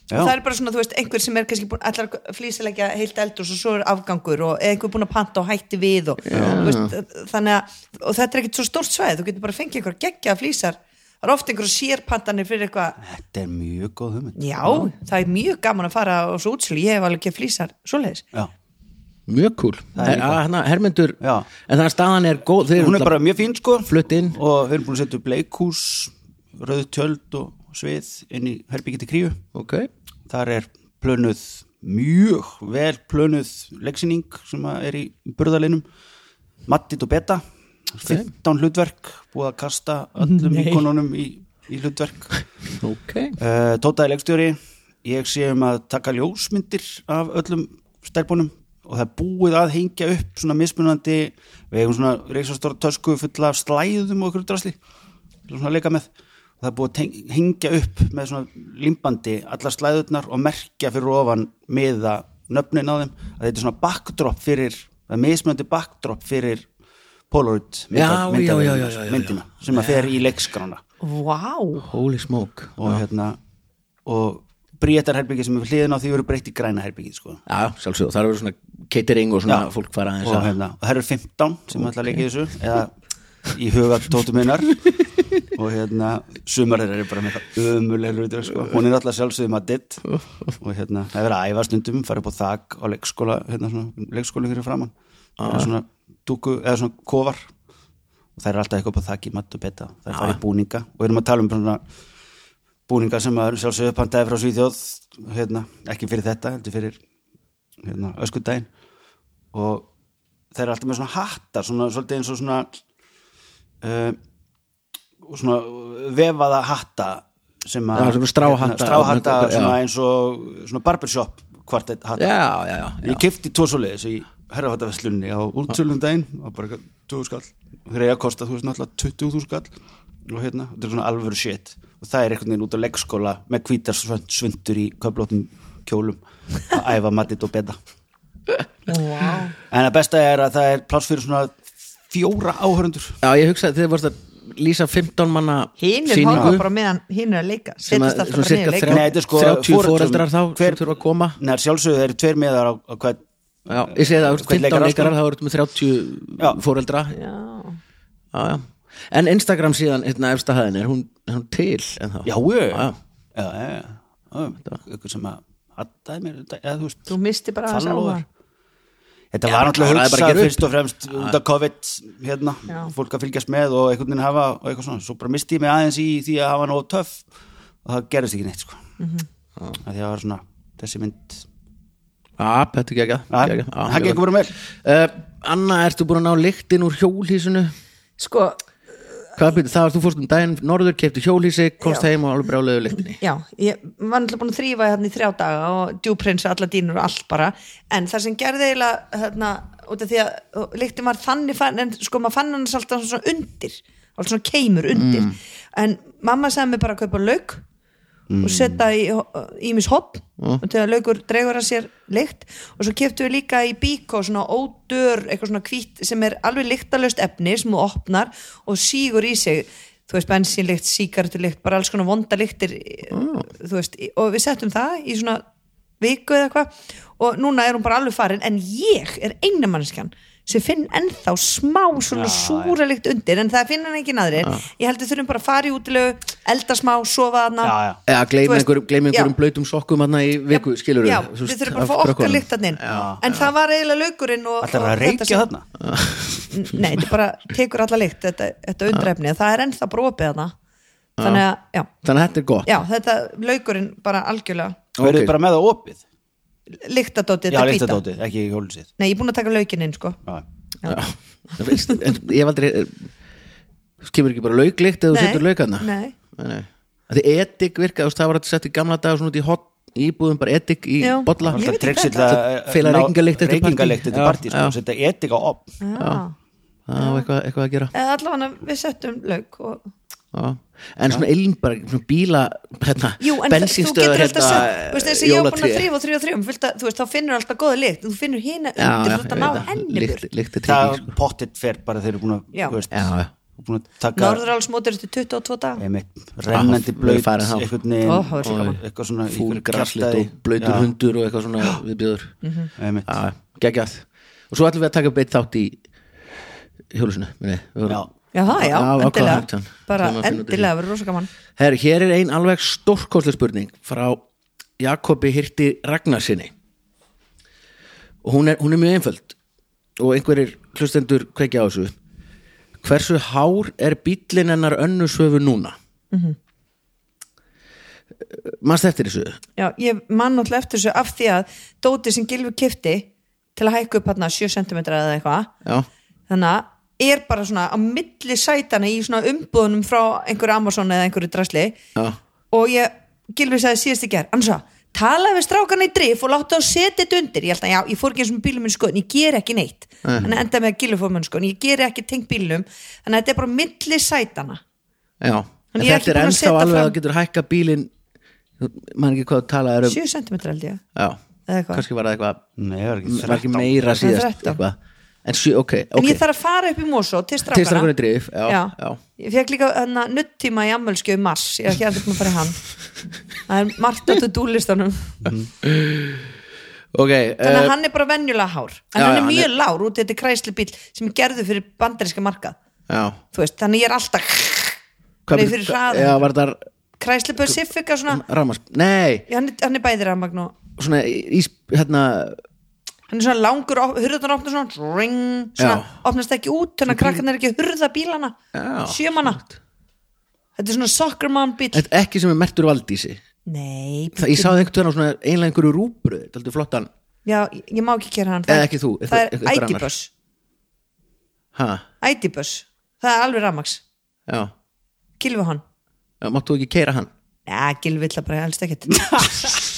S5: Já.
S6: og það er bara svona, þú veist, einhver sem er kannski búin, allar flýsilegja heilt eldur og svo er afgangur og eða einhver búin að panta og hætti við og, þú veist, þannig að, og þetta er ekkit svo stórt svæð þú getur bara að fengja einhver geggja flýsar það er ofta einhver sérpantanir fyrir eitthvað
S5: Þetta er mjög góð hugmynd
S6: já, það er mjög gaman að fara og svo útsala, ég hef alveg ekki flýsar svoleiðis
S5: Já.
S4: mjög cool hérna, Hermundur,
S5: Já.
S4: en það staðan er góð þeir
S5: Hún er
S4: náttúrulega
S5: bara mjög fín sko
S4: flutt inn
S5: og við erum búin að setja upp leikhús rauð tjöld og svið inn í herbyggi til kríu
S4: ok,
S5: þar er plönuð mjög vel plönuð leiksýning sem að er í burðalinum Mattit og Beta 15 hlutverk búið að kasta öllum íkonunum í, í hlutverk
S4: ok
S5: uh, Tótaði leikstjóri ég sé um að taka ljósmyndir af öllum stelpunum og það er búið að hengja upp svona mismunandi, við hefum svona reisastóra tösku fulla af slæðum og ykkur drasli til svona að leika með og það er búið að teng- hengja upp með svona limbandi allar slæðurnar og merkja fyrir ofan miða nöfnin á þeim að þetta er svona backdrop fyrir það er mismunandi backdrop fyrir Polaroid
S4: Já,
S5: mynda-
S4: já, já, já, já,
S5: myndavélina,
S4: já, já.
S5: myndina sem að fer í leikskrána
S6: Vá,
S4: holy smoke
S5: og hérna og bríetarherbyggi sem er við hliðin á því verður breytt í græna herbyggi sko.
S4: já, sjálfsög, það eru svona catering og svona
S5: Já.
S4: fólk fara aðeins
S5: og,
S4: að
S5: hérna, og það eru 15 sem ætla að leika í þessu eða í huga tóttu minnar og hérna, sumar þeir eru bara með það ömulegur út sko. hún er alltaf sjálfsögum að ditt og hérna, það er verið að æfa stundum fara upp á þak á leikskóla hérna, svona, leikskóla fyrir framann ah. svona dúku, eða svona kofar og þær eru alltaf eitthvað upp á þak í matt og beta þær
S4: Ah.
S5: fara í búninga og við erum að tala um svona búninga sem að sjálfsögum pantaði frá Svíþjóð hérna, ekki fyrir þetta, heldur fyrir hérna, öskudaginn og þeir eru alltaf með svona hattar svona, svolítið eins og svona uh, svona vefaða hatta sem að hérna,
S4: Já, svona stráhatta.
S5: stráhatta
S4: Já.
S5: svona eins og svona barbershop kvartett hatta
S4: já, já, já,
S5: ég kefti tvo svo leiðis í herrafattaverslunni á útsölum daginn og bara eitthvað 20 skall þeir eiga að kosta, þú veist náttúrulega 20 skall og hérna, þetta er svona alvöru shit og það er einhvern veginn út á leggskóla með hvítar svönd- svundur í köflótum kjólum að æfa matið og beta
S6: wow.
S5: en það besta er að það er pláss fyrir svona fjóra áhörundur
S4: já ég hugsaði þegar varst að lýsa 15 manna
S6: Hinn er
S4: sýningu
S6: horfa bara meðan hinn er að leika
S4: sem að
S6: Setjast alltaf
S4: svona cirka
S6: bara niður að leika
S5: Nei, þetta er sko
S4: 30
S5: foreldrum.
S4: foreldrar þá
S5: Hver-
S4: sem þurfa að koma
S5: Nei, sjálfsögðu þeir eru tveir miðar á, á hvern
S4: já, ég segi það, þú ert 15
S5: Hvern leikara,
S4: leikarar þá ertu með 30
S5: Já.
S4: foreldra já, já en Instagram síðan, hérna efsta hæðin er hún, er hún til en þá
S5: Já, ég
S4: já.
S5: Já, já, já, já Ykkur sem að hattaði mér þetta, eða þú veist
S6: Þú misti bara aðeins
S5: Follower.
S6: áhuga
S5: Þetta
S4: Já,
S5: var náttúrulega
S4: kláraði bara að
S5: hugsað
S4: gera upp.
S5: fyrst og fremst út af COVID hérna,
S6: Já.
S5: fólk að fylgjast með og einhvern veginn hafa og eitthvað svona, svo bara misti ég mig aðeins í því að hafa nóg töff og það gerðist ekki neitt sko.
S6: Mhm.
S5: mm -hmm. að því að það var svona þessi mynd
S4: já, þetta er geggjað,
S5: Að-
S4: geggjað, já,
S5: það
S4: mjög
S5: gekk
S4: vel.
S5: bara vel
S4: Uh, Anna, ertu búin að ná lyktin úr hjólhísinu?
S6: Sko,
S4: Hvað byrði það? Þú fórst um daginn norður, kefti hjólhísi, komst
S6: Já.
S4: heim og alveg brjálega lyktinni
S6: já, ég var náttúrulega búin að þrýfa hérna í þrjá daga og djúprinsa alla dínur og allt bara en það sem gerði eiginlega hérna, út af því að líktin var þannig fann, en sko maður fann hann alltaf svona undir alltaf svona keimur undir en mamma sagði mig bara að kaupa lauk
S5: Mm.
S6: og setja í ímis hopp og þegar laukur dregur að sér lykt og svo keftu við líka í bíkó svona ódör, eitthvað svona hvít sem er alveg lyktalöst efni sem þú opnar og sígur í sig þú veist, bensínlykt, síkartulykt, bara alls konar vonda lyktir
S5: Mm.
S6: þú veist, í- og við settum það í svona viku eða eitthvað og núna er hún bara alveg farin en ég er eina mannskjan sem finn ennþá smá svona súra lykt undir en það finn hann ekki naðri ég heldur þurfum bara að fara í útilegu elda smá, sofa þarna
S5: Já, já.
S4: Eða
S6: Þú
S4: gleymi
S6: veist,
S4: einhverjum, gleymi
S6: já.
S4: einhverjum blöytum sokkum hann í viku, skilur
S6: já, við þurfum bara að fá okkar lyktarnir en það var eiginlega laukurinn og,
S5: Alltaf er
S6: og
S5: að
S6: þetta
S5: reykja
S6: sem-
S5: þarna
S6: nei, þetta bara tekur alla lykt þetta, þetta undrefni, það er ennþá brópið þarna þannig að, já,
S4: Þannig að þetta er gott
S6: já þetta laukurinn bara algjörlega
S4: Ok.
S5: og verður bara með það opið
S6: lyktadótið,
S5: Já,
S6: þetta hvíta.
S5: líktadótið, ekki í hjólsið
S6: nei, ég er búin að taka laukinn inn sko
S4: Það veist, en Ég hef aldrei þú kemur ekki bara lauklykt eða þú setur laukana
S6: nei,
S4: Því edik virka, þú veist, það var að setja í gamla dag svona út í hot, íbúðum bara edik í
S6: Já.
S4: bolla
S6: Ég veit
S5: Alltaf eh,
S6: ekki
S5: treyksill
S6: hvað
S5: að
S4: þetta- Fela reykingalykt eftir partí.
S5: reykingalykt
S4: Já,
S5: eftir partí sko,
S4: já.
S5: setja etika op
S6: já
S4: Það var eitthvað, eitthvað að gera
S6: Ah. eða allavega við settum lauk og...
S4: Já. En svona ilm bara, svona bíla hérna,
S6: Jú, en það- þú
S4: bensinstöðar
S6: getur alltaf sett Þú veist, þessi ég á búin að
S4: jólatré.
S6: þrýfa og þrýfa og þrýfa fullt að- Þú veist, þá finnur alltaf góða lykt Þú finnur hina
S4: Já, já,
S6: undir, þú ert að
S4: ég veit
S6: ná
S4: það.
S6: henni burt
S4: Lykt- lykt er
S5: það
S4: tricky, sko.
S5: pottit fer bara þeir eru búin
S6: Já.
S5: að þú veist,
S4: Já, já.
S5: búin að taka
S6: Norðurálsmótur eftir 22 dag
S5: einmitt rennandi blöyt
S4: farin þá.
S5: eitthvað
S6: Ó, það var svo gaman.
S5: eitthvað svona
S4: fúl
S5: einhver
S4: graslit
S5: kjaftaði.
S4: og blöytur
S5: Já,
S4: hundur og eitthvað svona viðbjöður
S6: Mhm.
S5: einmitt.
S4: geggjað og svo ætlum við að taka beitt þátt í hjólusinu
S5: Já.
S6: Já, það, já, endilega Bara endilega, verður rosa gaman
S4: Her, hér er ein alveg stórkostlega spurning frá Jakobi Hirti Ragnarsinni og hún er, hún er mjög einföld og einhverjir hlustendur kveikja á þessu hversu hár er bíllinn hennar önnu söfu núna
S6: Mhm.
S4: mm -hmm. mannst eftir þessu
S6: Já, ég man náttúrulega eftir þessu af því að Dóti sem Gylfi kifti til að hækka upp hérna 7 cm eða eitthvað
S4: já
S6: þannig að er bara svona á milli sætana í svona umbúðunum frá einhverju Amazon eða einhverju drasli
S4: Já.
S6: og ég, Gilvi sagði síðast í ger annars að talaði við strákan í drif og láttu að setja þetta undir, ég held að já, ég fór ekki eins og bílum minn skoðin, ég ger ekki neitt þannig að enda með að Gilvi fór minn skoðin, ég ger ekki tengt bílum, þannig að þetta er bara á milli sætana
S4: Já, en
S6: ég er ekki
S4: þetta er
S6: búin að
S4: ennþá
S6: setja
S4: alveg að
S6: fram-
S4: þú getur hækka bílinn maður ekki hvað þú talað er um
S6: 7 cm held ég,
S4: Já,
S6: eða eitthvað
S4: kannski var það eitthvað
S5: Nei, það var
S4: var
S5: ekki
S4: ekki meira síðast
S6: 13.
S4: eitthvað. En sjö, ok,
S6: en
S4: ok
S6: ég þarf að fara upp í Mosó til strákana
S4: Til strákunni drif, já, já.
S6: Ég fekk líka hana, nuttíma í ammölskjöf í mars, ég er ekki að þetta að fara í hann það er margt að þú dúlistanum
S4: Ok,
S6: þannig að
S4: uh,
S6: hann er bara venjulega hár en
S4: já,
S6: hann
S4: já,
S6: er
S4: hann
S6: mjög lár út í þetta kræsli bíl sem er gerður fyrir bandaríska markað
S4: já
S6: þú veist, þannig ég er alltaf
S4: Hvað
S6: Nei,
S4: byrju-
S6: fyrir hraðan.
S4: eh, Já, var Mm. það
S6: Chrysler Pacifica svona,
S4: ramask Nei,
S6: Já, hann er, hann er bæði rafmagn og
S4: svona ís, hérna
S6: hann er svona langur, op- hurðarnar opnast svona dring, svona,
S4: Já.
S6: opnast ekki út þannig að krakkarnir er ekki að hurða bílana
S4: Já,
S6: sjömana þetta er svona soccer mom bíl
S4: Þetta er ekki sem er mertur valdísi
S6: nei,
S4: það, Ég sáði einhvern veginn á svona einlega einhverju rúbröð Daldi flottan,
S6: já, ég, ég má ekki gera hann
S4: Eða ekki þú, einhver-
S6: það er
S4: einhver annar.
S6: ID-bus
S4: ha,
S6: ID-bus, það er alveg rafmags
S4: já
S6: gilfi hann
S4: Já, Máttu ekki keira hann
S6: Já, Gil vill það bara helst ekkert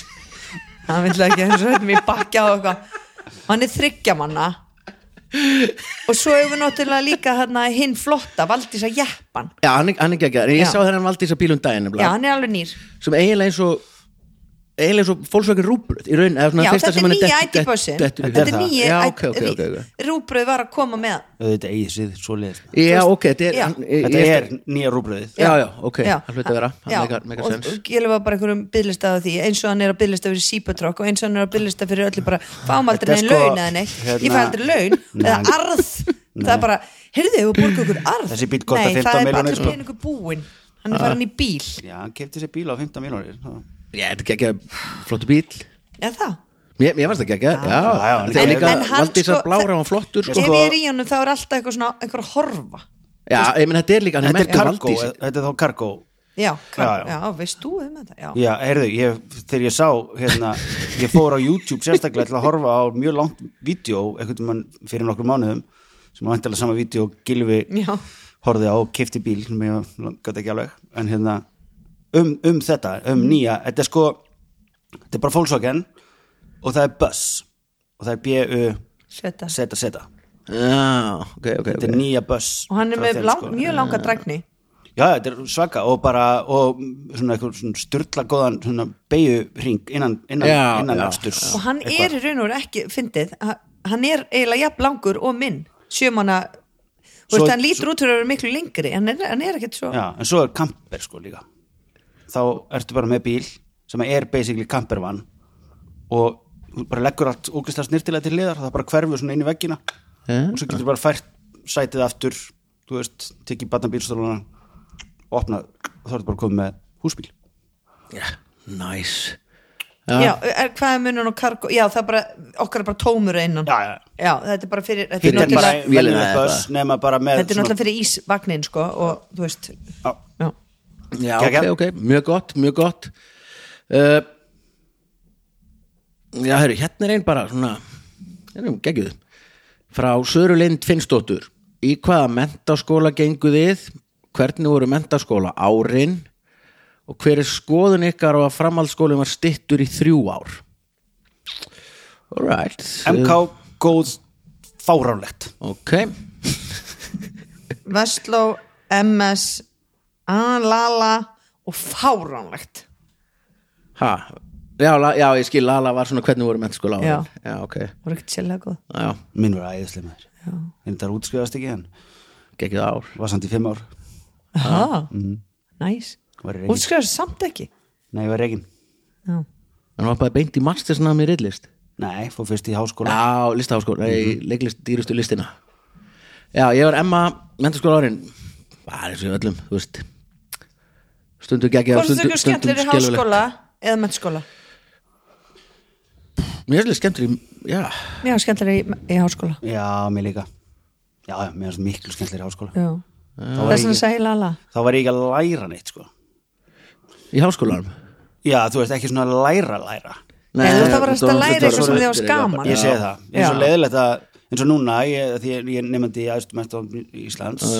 S6: Hann vill það ekki eins og þetta mér bakja um á eitthvað Hann er þryggja manna Og svo hefur náttúrulega líka hérna, hinn flotta Valdís að jeppan
S4: Já, hann er, hann er ekki en ég
S6: Já.
S4: sá þennan valdísa bílum daginn
S6: Já,
S4: nefnilega,
S6: hann er alveg nýr
S4: sem eiginlega eins og eiginlega eins og fólksvögin rúbröð í raun, eða svona
S6: Já,
S4: fyrsta
S6: þetta
S4: sem
S6: er
S4: hann
S6: nýja
S4: dett- dett-
S6: IT-bussin
S4: dettur í hug.
S6: Þetta er
S5: það.
S6: nýja
S4: Já, ok, ok, ok, ok
S6: Rúbröð var að koma með
S5: auðvitað eigið síð, svo leiðist
S4: Já, ok, þetta er,
S6: Já.
S4: hann- ég-
S5: þetta
S4: ég-
S5: er nýja rúbröðið
S4: Já, já, ok,
S6: Já.
S4: það hluti að vera
S6: Já,
S4: Það megar- megar
S6: og-
S4: sens.
S6: og Gil var bara einhverjum byðlista á því eins og hann er að byðlista fyrir sípatrokk og eins og hann er að byðlista fyrir öllu bara fáum aldrei
S5: Þetta er
S6: neinn
S5: sko,
S6: laun eða neitt ég fæ
S5: hérna-
S6: aldrei laun eða
S5: Nei.
S6: arð það er bara, heyrðu þau, borga ykkur arð
S5: Þessi bíll kostar
S6: Nei,
S5: 15
S6: það er bara
S5: milljónir,
S6: allir
S5: sko.
S6: peningur búinn hann er farin í bíl
S5: já, hann kefti sér bíl á 15 miljonir
S4: Já, þetta er ekki að flottu bíl
S6: eða það
S4: Mér, mér varst ekki ekki, já,
S5: Já, já,
S4: Þetta er
S5: en-
S4: líka
S6: en hann
S4: Valdísar
S6: sko-
S4: Blára var flottur
S6: ef
S4: sko.
S6: ég er í honum þá er alltaf eitthvað svona einhver að horfa
S4: Já, ég menn þetta er líka hann er
S5: þetta er
S4: merkur
S5: kargó,
S4: Valdís
S5: þetta er þá kargó
S6: já, já,
S5: Já, já.
S6: já, veist þú um þetta já.
S5: já, heyrðu, ég, þegar ég sá hérna, ég fór á YouTube sérstaklega til að horfa á mjög langt vídeo einhvern mann fyrir nokkur mánuðum sem var vantilega sama vídeo Gilvi
S6: Já.
S5: horfið á kefti bíl sem ég gæti ekki alveg en hérna, um, um þetta,
S6: Mm.
S5: um nýja þetta er sko, þetta er bara Volkswagen og það er Buzz og það er B-U
S6: Sveta.
S5: seta seta
S4: Já, ok, ok,
S5: þetta er
S4: ok
S5: nýja buss
S6: og hann er
S5: frá
S6: með
S5: þeim,
S6: lang,
S5: sko.
S6: mjög langa drækni
S5: já, þetta er svaka og bara og svona eitthvað svona styrla góðan svona beigju innan, innan,
S4: Já,
S5: innan
S4: já,
S5: afsturs
S6: og hann er í raun og veru ekki fyndið, ha- hann er eiginlega jafn langur og minn sjömanna þú
S5: Svo-
S6: veist, hann lítur út fyrir að vera miklu lengri hann er, hann er ekkert svo
S5: já, en svo er kamper sko líka þá ertu bara með bíl sem er basically kampervan og þú bara leggur allt ógæslega snirtilega til liðar það bara hverfur svona inn í veggina
S4: Já.
S5: og svo getur bara fært sætið aftur þú veist, tekið batna bílstóluna og opnað og þá ertu bara komið með húsbíl
S4: Næs
S6: já, er, hvað er munun og kargo já, það er bara, okkar er bara tómur að innan
S5: já, já,
S6: þetta er bara fyrir þetta er
S5: Þetta er bara
S6: náttúrulega,
S4: vélina
S5: venjulegt
S4: eða
S5: buss nema bara með
S6: þetta er náttúrulega fyrir ísvagnin sko, og þú veist
S5: náttúrulega
S6: já.
S4: Já, ok,
S5: Geggjað.
S4: ok, mjög gott, mjög gott uh, Já, herru, hérna er einn bara svona hérna er geggjuð Frá Sörulind Finnsdóttur Í hvaða mentaskóla genguð þið? Hvernig voru mentaskóla árin? Og hver er skoðun ykkar á að framhaldsskólinn var stittur í þrjú ár? Alright
S5: MK góð fáránlegt
S4: Ok
S6: Vestló, MS Alala og fáránlegt
S4: ha. já, la, já, ég skil, Lala var svona hvernig voru mentaskóla árin
S6: Já.
S4: já ok
S6: voru ekkert sérlega góð
S4: Já,
S5: minn var æðislega maður en það er útskrifast ekki en
S4: geggjuð ár
S5: var samt í fimm ár
S6: ah,
S5: Mhm.
S6: næs
S5: Var í Reykjavík.
S6: útskrifast samt ekki
S5: nei, var reygin
S6: já.
S4: Hann var bara beint í mastersnámi í riðlist
S5: nei, fór fyrst í háskóla
S4: Já, listaháskóla, mm -hmm. leiklist dýrustu listina Já, ég var Emma mentaskóla árin Bara eins og í öllum, þú veist Stundu geggja
S6: Hvort þú ekki skemmtilegir í háskóla eða mennskóla?
S4: Mér er skemmtileg, já
S6: Já, skemmtilegir í, í háskóla
S5: já, mér líka já, já, mér varst miklu skemmtilega í háskóla
S6: Já
S5: þá
S6: Það
S5: var,
S6: er svona að
S5: ég,
S6: segja lala
S5: þá var ég ekki að læra neitt sko.
S4: Í háskólanum
S5: já, þú veist, ekki svona læra læra
S6: Nei, þú þarf bara að
S4: þetta var-
S6: læra
S4: þetta
S6: eitthvað sem þið varst gaman.
S5: ég
S6: Já.
S5: segi það, eins og
S6: Já.
S5: leiðilegt að eins og núna, ég, því ég, ég nefndi í æðstu mest á Íslands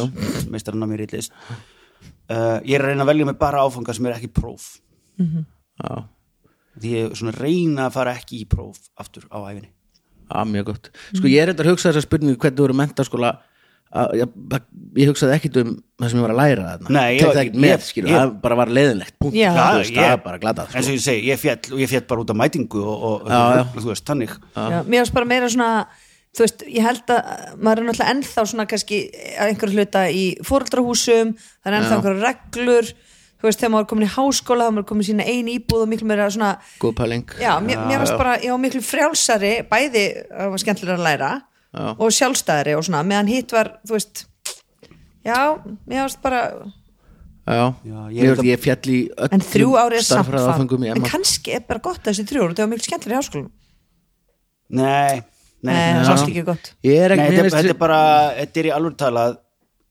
S5: meistarinn á mér í list uh, ég er að reyna að velja mig bara áfanga sem er ekki próf
S4: Mhm. Já,
S5: því ég svona reyna að fara ekki í próf aftur á æfinni
S4: Já, mjög gott. Sko
S6: Mhm.
S4: ég er eitthvað að hugsa þessa spurningu hvernig þú eru mentaskóla að- ég, ég hugsaði ekkit um það sem ég var að læra þarna.
S5: Nei, ég-
S4: Tek það ekkit með,
S5: ég-
S4: skilur,
S5: ég-
S4: það bara var leiðinlegt. Punkt.
S6: Já.
S4: Þú veist, það er bara glatað. sko.
S5: eins og ég segi, ég fjall og ég fjall bara út af mætingu og, og
S4: Já, já.
S5: þú veist, þannig
S6: Já, Mér varst bara meira svona Þú veist, ég held að maður er náttúrulega ennþá svona kannski að einhverju hluta í fóreldrahúsum, það er ennþá einhverju reglur þú veist, þegar maður er komin í háskóla þá er maður komin í sína einu íbúð og miklu meira svona
S4: Góð pæling.
S6: Já, mér, mér varst bara, ég var miklu frjálsari bæði, það var skemmtilega að læra
S4: Já.
S6: og sjálfstæðari og svona, meðan hitt var, þú veist já, mér varst bara
S4: Já,
S5: Já, ég
S4: ég,
S5: er
S4: ég,
S5: þetta-
S4: ég fjall í öllum
S6: en þrjú ári er samt
S4: stærðfræðiáföngum
S6: það
S4: í
S6: en
S4: Emma
S6: kannski er bara gott þessi þrjú ári, það var miklu skemmtilega í háskólanum
S5: Nei, nei,
S6: Nei,
S5: nei,
S6: það varst ekki gott
S4: Ég er
S5: nei
S4: ekki
S5: þetta,
S4: mér
S5: er-
S4: finnst-
S5: þetta er bara þetta er í alveg talað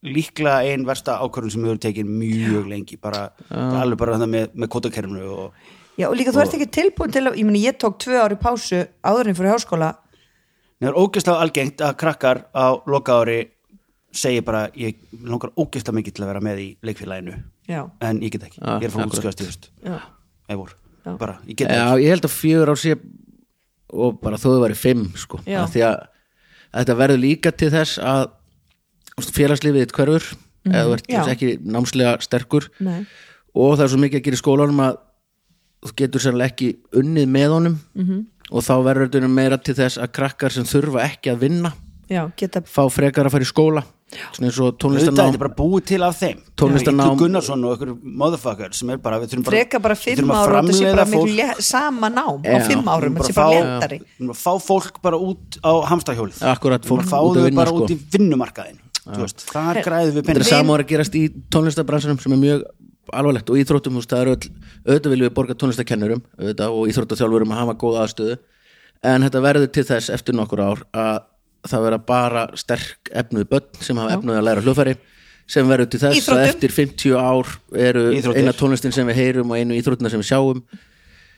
S5: líklega ein versta ákvörðun sem hefur tekið mjög lengi bara, þetta er alveg bara þetta með, með kótakerfinu og
S6: já, og líka þú ert ekki tilbúin til að ég, meni, ég tók tvö ári pásu áður en ég fór í háskóla
S5: það er ógeðslega algengt að krakkar á loka ári segir bara, ég langar ógeðslega mikið til að vera með í leikfélaginu
S6: já,
S5: en ég get ekki,
S4: Já,
S5: ég er frá
S4: akkurat.
S5: útskjöðast í höst
S6: já,
S5: eða vor,
S6: Já.
S5: bara, ég get
S4: Já,
S5: ekki
S4: ég held að fjögur á sé og bara þó þau væri fimm sko,
S6: Já.
S4: Af því að þetta verður líka til þess að félagslífið þitt hverfur eða þú ert
S6: Mhm, Já.
S4: ekki námslega sterkur
S6: Nei.
S4: og það er svo mikið að gera í skólanum að þú getur sérlega ekki unnið með honum
S6: Mhm.
S4: -hmm. og þá verður þetta nú meira til þess að krakkar sem þurfa ekki að vinna
S6: já, geta
S4: fá frekar að fara í skóla svona eins og
S5: auðvitað,
S4: tónlistarnám
S5: þetta er bara búið til af þeim
S4: Tónlistarnám.
S5: Illugi Gunnarsson og ykkur motherfucker sem er bara, við þurfum bara
S6: freka bara
S5: við
S6: fimm
S5: þurfum að
S6: ára og þetta sé bara
S5: framleiða
S6: miklu
S5: fólk.
S6: le- sama nám á
S4: Já,
S6: fimm árum,
S5: Bara
S6: þetta sé bara
S5: fá-
S6: lendari
S5: Við erum að fá fólk bara út á hamstahjólið
S4: Akkurat, fólk
S5: fá
S4: út að
S5: þau
S4: vinna,
S5: bara
S4: sko.
S5: út í vinnumarkaðin veist, þar græðum við
S4: þetta er
S5: penning
S4: sama voru að gerast í tónlistarbransunum sem er mjög alvarlegt og íþróttum húst, það eru öll, auðvitað viljum við borga tónlistakennurum auðvitað, og íþróttaþjálfurum að hafa góða aðstöðu en þetta verður til þess eftir nokkur ár að það verða bara sterk efnuð börn sem hafa efnuð að læra hljófæri sem verður til þess að
S6: Íþróttum.
S4: eftir 50 ár eru
S5: Íþróttir.
S4: eina tónlistin sem við heyrum og einu íþróttina sem við sjáum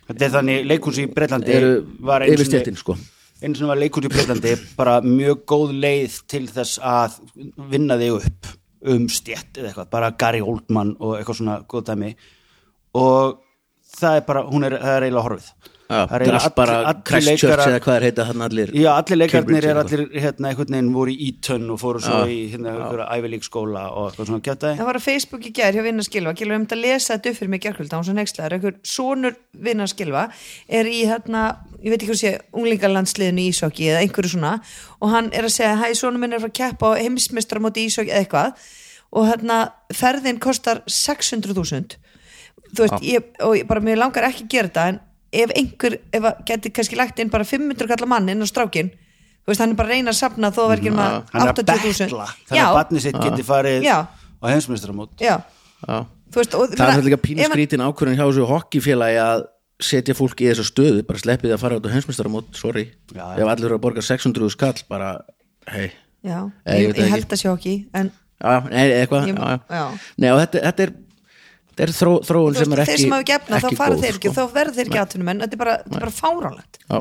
S5: þetta er þannig leikhús í Breitlandi
S4: eru
S5: var einu
S4: yfirstjættin
S5: sinni,
S4: sko
S5: einu sinni var leikhús í Breitlandi bara mjög góð leið til þess að vinna þig upp um stjætt eða eitthvað, bara Gary Oldman og eitthvað svona góð dæmi og það er bara, hún er, það er eiginlega horfið
S4: Já, það
S5: Það er
S4: er
S5: eiginlega
S4: allt bara
S5: allir- allir
S4: Christchurch
S5: leikarar-
S4: eða hvað er heita hann allir
S5: Já, allir leikarnir
S4: Cambridge
S5: er
S4: eða
S5: allir hérna einhvern veginn voru í Eton og fóru svo
S4: Já.
S5: í hérna einhverja ævilíkskóla og eitthvað svona kjátaði
S6: Það var að Facebook í gær hjá Vinnarskilva Gilva um þetta að lesa þetta upp fyrir mig gerkvölda hún svo nextlaður, einhver sonur Vinnarskilva er í þarna, ég veit ekki hvað sé unglingalandsliðinu í Ísokki eða einhverju svona og hann er að segja, hæ, sonur minn er að fara að keppa á heimsmeistra móti Ísokki eða eitthvað og þarna ferðin kostar 600.000 þú veist, ég, og ég bara mér langar ekki að gera þetta en ef einhver, ef að geti kannski lagt inn bara 500 kallar mann inn á strákin þú veist, hann er bara að reyna að sapna þó að verður ekki um
S5: Mm, Hann er
S6: að
S5: að
S6: 80.000
S5: betla þannig að
S6: Já.
S5: barnið sitt geti farið
S6: Já.
S5: á heimsmeistaramót
S6: Já,
S4: Já.
S6: þú veist og,
S4: það er þetta líka
S6: ef
S4: pínu
S6: hann-
S4: skrítin ákvörðin hjá þessu hokkifélagi að setja fólk í þessu stöðu bara sleppið þið að fara út á heimsmyndstaramót, sorry
S5: Já, já.
S4: ef allir eru að borga 600 skall bara, hei
S6: Já,
S4: Eh, ég
S6: ég,
S4: veit
S6: ég,
S4: ekki.
S6: held að sjá ekki en
S4: já, nei, eitthvað
S6: Ég-
S4: já, já.
S6: já.
S4: Nei, og þetta, þetta er, þetta er þró, þróun
S6: þú veist,
S4: sem er ekki
S6: þeir sem hafa gefna þá
S4: ekki
S6: fara
S4: góð, sko.
S6: þeir ekki og þá verð þeir ekki atvinnumenn þetta er bara, þetta er bara fáránlegt
S4: já,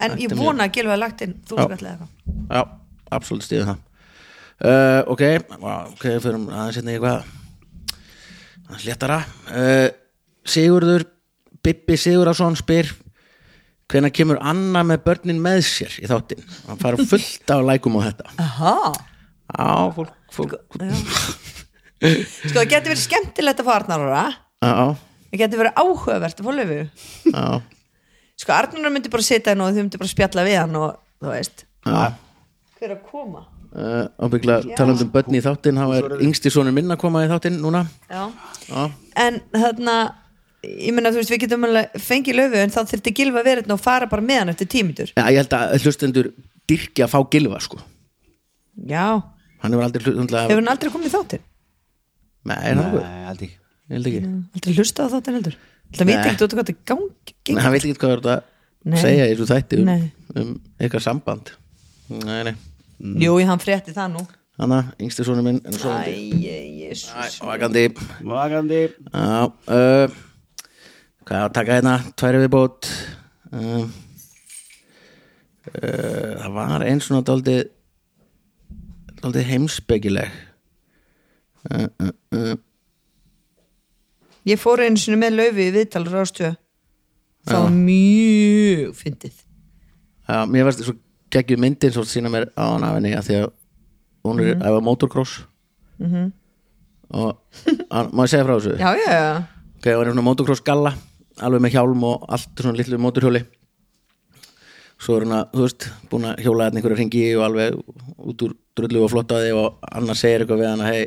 S6: en ég
S4: er mjög-
S6: vona að gilfa að lagt inn þú
S4: Já.
S6: skallega eitthvað
S4: já, absolutt stíðu það uh, ok, vá, ok, fyrir aðeins hérna í eitthvað aðeins léttara uh, Sigurður Bibbi Sigurðarsson spyr hvenær kemur Anna með börnin með sér í þáttinn, hann fara fullt af lækum á þetta
S6: Aha.
S4: Já, fólk, fólk
S6: Já. sko það getur verið skemmtilegt að fá Arnar ára
S4: Já,
S6: það getur verið áhugavert að fá löfu
S4: já,
S6: sko Arnar myndi bara sitja hann og þau myndi bara spjalla við hann og þú veist
S4: já
S6: hver er að koma
S4: Uh, ábyggla talandi um börn í þáttinn þá er yngsti sonur minn að koma í þáttinn núna
S6: Já.
S4: já,
S6: en þarna ég meina þú veist við getum alveg fengið löfu en þá þurfti gilfa verið hérna og fara bara með hann eftir tímitur
S4: já ég held að hlustendur dyrki að fá gilva sko
S6: já,
S4: hann hefur aldrei hlustendlega
S6: hefur hann aldrei komið í þáttinn
S4: nei, nei,
S5: Nei, aldrei ekki.
S4: ég held ekki
S6: aldrei hlusta á þáttin heldur það veit
S4: Nei.
S6: ekki út hvað það gangi
S4: nei,
S6: gengur.
S4: hann veit ekki hvað þú ert
S6: Nei.
S4: að segja í þessu þætti um,
S6: Nei.
S4: um eitthvað samband nei, nei,
S6: jú, ég hann frétti það nú
S4: hann að yngsti sonur minn en svo
S6: æ, jésús
S4: vakandi
S5: Vakandi
S4: já, uh, hvað er að taka hérna tværi viðbót um, uh, það var eins svona dálítið dálítið heimsbyggileg
S6: ég fór einu sinni með laufi í viðtalur ástu það var mjög fyndið
S4: Já, mér varst svo geggjum myndin svo sína mér á hann af henni að því að hún
S6: Mhm.
S4: er mm -hmm. motocross og hann, má ég segja frá þessu
S6: já, já, já,
S4: ok, hún er svona motocross galla alveg með hjálm og allt svona litlu motorhjóli svo er hún að, þú veist, búin að hjóla hérna einhverja ringi og alveg út úr drullu og flottaði og annar segir eitthvað við hann að hei,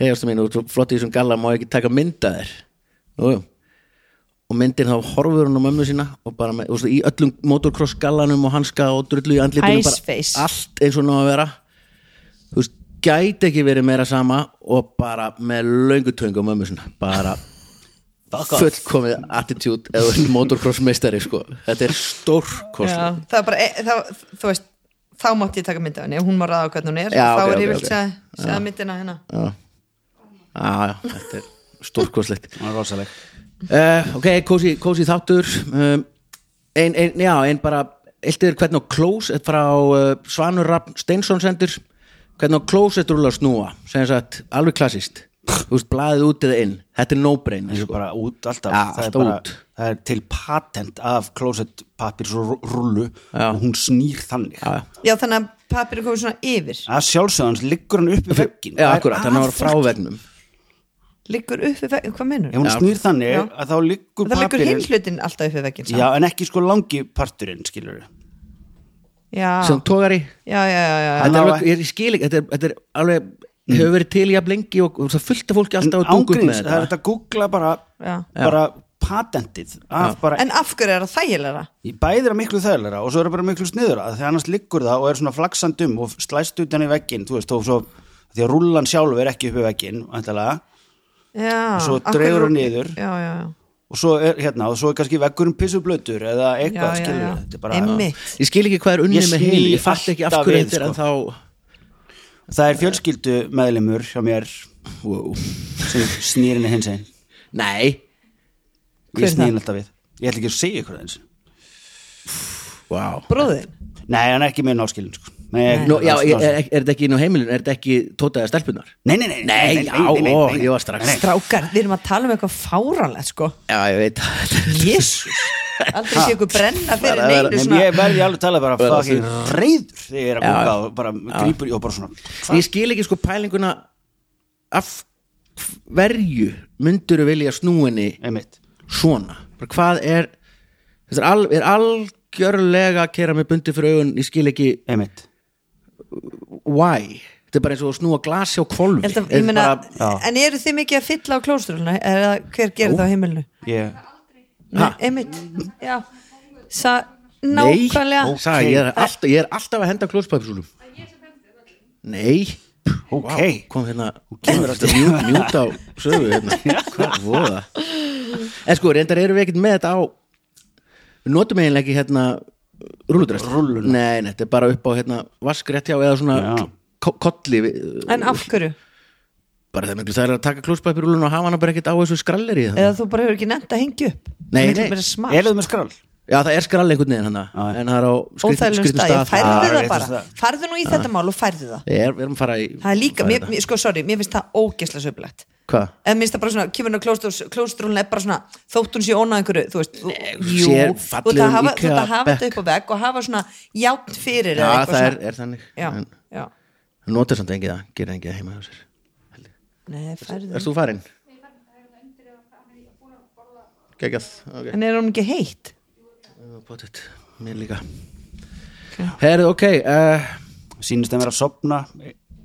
S4: hei ástu mín, þú ert svo flott í þessum galla má ég ekki taka mynd að þér Jú, jú og myndin þá horfur hún á mömmu sína og bara með, þú veist, í öllum motocross gallanum og hanska og drullu í andlitinu
S6: Ice
S4: bara
S6: face.
S4: allt eins og hún á að vera þú veist, gæti ekki verið meira sama og bara með löngutöng á mömmu sinna bara fullkomið attitude eða motocrossmeistari sko þetta er stórkost
S6: Já, það er bara, e, það, þú veist þá mátti ég taka mynd af henni, ef hún má ráða hvernig hún er
S4: Já,
S6: þá
S4: ok, ok,
S6: er ég vilt
S4: ok.
S6: segja, segja myndina hérna
S4: ah, þetta er stórkostlegt
S5: Hún er rosaleg
S4: uh, ok, kósi, kósi þáttur um, ein, ein, já, ein bara Eltiður hvernig á klósett frá uh, Svanur Rapp Steinsson sendur hvernig á klósett rúla snúa sem sagt, alveg klassist þú veist, blaðið út eða inn, þetta er sko. no-brain
S5: Það er bara út alltaf
S4: Já,
S5: það, er
S4: alltaf
S5: bara,
S4: út.
S5: það er til patent af klósettpapir svo rullu
S4: Já.
S5: og hún snýr þannig
S4: já, já
S6: Já, þannig að pappir er komið svona yfir
S5: að sjálfsögans liggur hann upp í veggin
S4: Já, akkurat, þannig að það var frá vegnum
S6: liggur upp við veginn, hvað
S5: ef
S6: mennur?
S5: hún snýr þannig
S6: Já.
S5: að þá liggur
S6: Það liggur hinn
S5: papirinn
S6: hlutin alltaf upp við veginn
S5: já, en ekki sko langi parturinn skilur
S6: já,
S4: sem tógar í
S6: já, já, já, já.
S5: Hann
S4: Þetta er
S5: á
S4: alveg, ég skil ekki, þetta er, þetta er alveg hefur verið til í að blengi og, og það fullta fólki alltaf að dunga upp
S5: ángríns,
S4: með
S5: það er
S4: þetta
S5: þetta að googla bara,
S6: Já.
S5: bara patentið af bara,
S6: En af hverju er það þægilega?
S5: í bæðir að miklu þægilega og svo er það bara miklu sniður að þegar annars liggur það og er svona flaksandum og slæst utan í veggin þú veist, og svo, því að rullan sjálfur er ekki upp í veggin væntanlega.
S6: Já,
S5: Svo
S6: af hverju-
S5: dregur hún niður.
S6: Já, já, já
S5: og svo er hérna, og svo er kannski veggurinn pissublautur eða
S6: Já,
S5: eitthvað,
S6: já,
S5: skilur
S6: já.
S5: þetta er bara,
S6: Einmitt.
S4: Ég skil ekki hvað er unni
S5: Ég
S4: með
S5: sný
S4: hinn Ég fatt ekki af
S5: alltaf
S4: hverju
S5: við,
S4: þetta er en
S5: sko.
S4: þá
S5: það er fjölskyldu meðlimur hjá mér
S4: wow.
S5: sem snýr henni hins einn
S4: Nei,
S6: Hver er
S5: ég snýr
S6: það?
S5: henni alltaf við, ég ætla ekki að segja ykkur það eins
S4: wow.
S6: Bróðin?
S5: nei, hann er ekki með náskilin sko. nei,
S4: Nú, já, ég, er, er þetta ekki inn á heimilun, er þetta ekki tótaða stelpunar?
S5: nei, nei, nei,
S4: Nei, já, ó, ég var strax
S6: Strákar, við erum að tala um eitthvað fáranlegt, sko
S4: Já, ég veit það.
S6: Jésús Aldrei sé ykkur brenna fyrir
S4: Bara-
S6: neinu
S5: Nei,
S6: svona
S5: ég verði alveg talað bara
S4: Verða
S5: fucking reyður þegar ég er að
S4: Já,
S5: bóka
S4: já.
S5: og bara grýpur í og bara svona hva?
S4: Ég skil ekki sko pælinguna af hverju myndur vilja snúinni
S5: einmitt
S4: svona Bara hvað er þetta er, al, er algjörlega að kera með bundi fyrir augun ég skil ekki
S5: einmitt
S4: why þetta er bara eins og að snúa glasi á
S6: Ég
S4: kvolfi
S6: held að, ég meina,
S4: bara,
S5: Já.
S6: en eru þið mikið að fylla á klóstrúluna eða hver gerir það á heimilinu?
S5: ég,
S6: Nei, einmitt, já Sa,
S4: nei,
S6: nákvæmlega
S4: ó, sagði, ég, er alltaf, ég er alltaf að henda klóspæpsúlum nei
S5: ok
S4: Vá, kom hérna
S5: kemur
S4: þetta mjút, mjút á sögu hérna. hvað voða en sko reyndar erum við ekkert með þetta á við notum eiginlega ekki hérna rúludrest
S5: Rúlluna.
S4: nei, nei, þetta er bara upp á hérna vaskrétt hjá eða svona
S5: Já.
S4: ko- kolli við-
S6: En af hverju?
S4: bara það er miklu þær að taka klóspapirúlun og hafa hana bara ekkert á þessu hérna. skrallir í það
S6: Eða þú bara hefur ekki nefnt að hengja upp?
S4: Nei,
S6: Miklu
S4: nei.
S6: meira smart.
S5: er það með skrall?
S4: já það er skrall einhvern veginn hann en það er á
S6: Óþægilegum
S4: skrýtnum
S6: stað, ég
S5: Já,
S6: færðu það
S5: rétt
S6: bara
S5: stað.
S6: Farðu nú í þetta mál og færðu það
S4: Ég er, við erum að fara í
S6: Það er líka,
S4: fara í
S6: mér,
S4: þetta.
S6: mér, sko, sorry, mér finnst það ógeðslega söpulegt
S4: Hvað?
S6: En mér finnst það bara svona, kemur hann á klóstrúlun er bara svona, þótt hún sé ónað einhverju þú veist, þú-
S4: Eh,
S6: jú,
S4: sér
S6: þú
S4: fallegum
S6: ert að hafa þú
S4: IKEA
S6: ert að hafa þetta
S4: bekk.
S6: upp á vegg og hafa svona játn
S4: Já
S6: fyrir eða eitthvað
S4: það er,
S6: svona.
S4: er þannig
S6: Já,
S4: En
S6: já,
S4: hann notar samt engið það, gerir engið heima hjá sér
S6: nei, færðu
S4: Erst þú farin? Gekkað, ok
S6: En er hún ekki heitt?
S4: Pottit, mér líka Herðu, ok uh,
S5: sínist þeim vera að sopna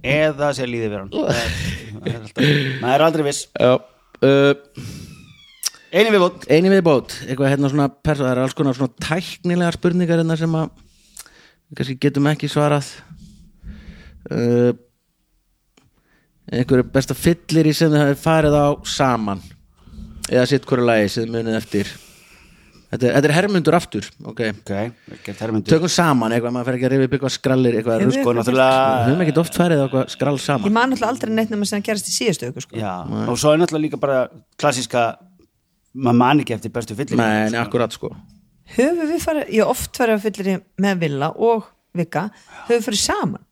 S5: eða sé líði vera hann Það er- það er alltaf- maður er aldrei viss
S4: Já uh,
S5: einu við vott
S4: Einu viðbót, eitthvað hérna svona perso, það er alls konar svona tæknilegar spurningar hérna sem að við kannski getum ekki svarað uh, einhverju besta fyllir í sem þið hafið farið á saman eða sitt hverju lagi sem þið munið eftir þetta er, þetta er hermundur aftur ok,
S5: ok, ekki termindu
S4: tökum saman eitthvað, maður fer ekki að rifja upp eitthvað skrallir eitthvað
S6: Hefur-
S4: rusk
S5: sko
S4: við
S5: náttúrulega
S4: höfum ekki oft farið á eitthvað skrall
S6: Ég
S4: saman
S6: man alltaf aldrei neitt nema sem það gerast í síðustu öku sko.
S5: já, og svo er náttúrulega líka bara klassíska maður man ekki eftir bestu fyllir
S4: nei, nei, akkurat sko
S6: Höfum við farið, ég hef oft farið að fyllir með Villa og Vika höfum við farið saman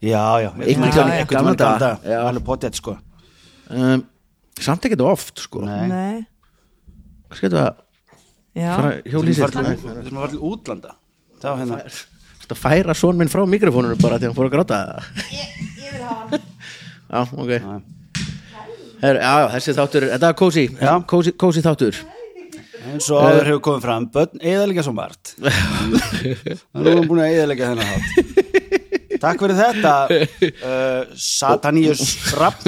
S5: já, já,
S4: Einhvern
S6: tímann-
S5: já,
S4: gamla daga. Já.
S5: alveg potið sko
S4: um, samt ekki þetta oft sko
S5: Nei.
S6: Nei,
S4: hvað skiltu að
S6: já,
S4: fara
S5: Við
S4: hjólísitt
S5: erum að fara til- við erum að fara til útlanda þá hérna
S4: Þetta færa són minn frá mikrofónunum bara til hann fór að gráta Ég vil hafa hann Já, ok Her, já, já, þessi þáttur, þetta er kósi
S5: Já.
S4: kósi, kósi þáttur
S5: eins og áður hefur komið fram börn eðalega svo margt nú erum búin að eðalega þennan hát takk fyrir þetta uh, Sataníus Rapp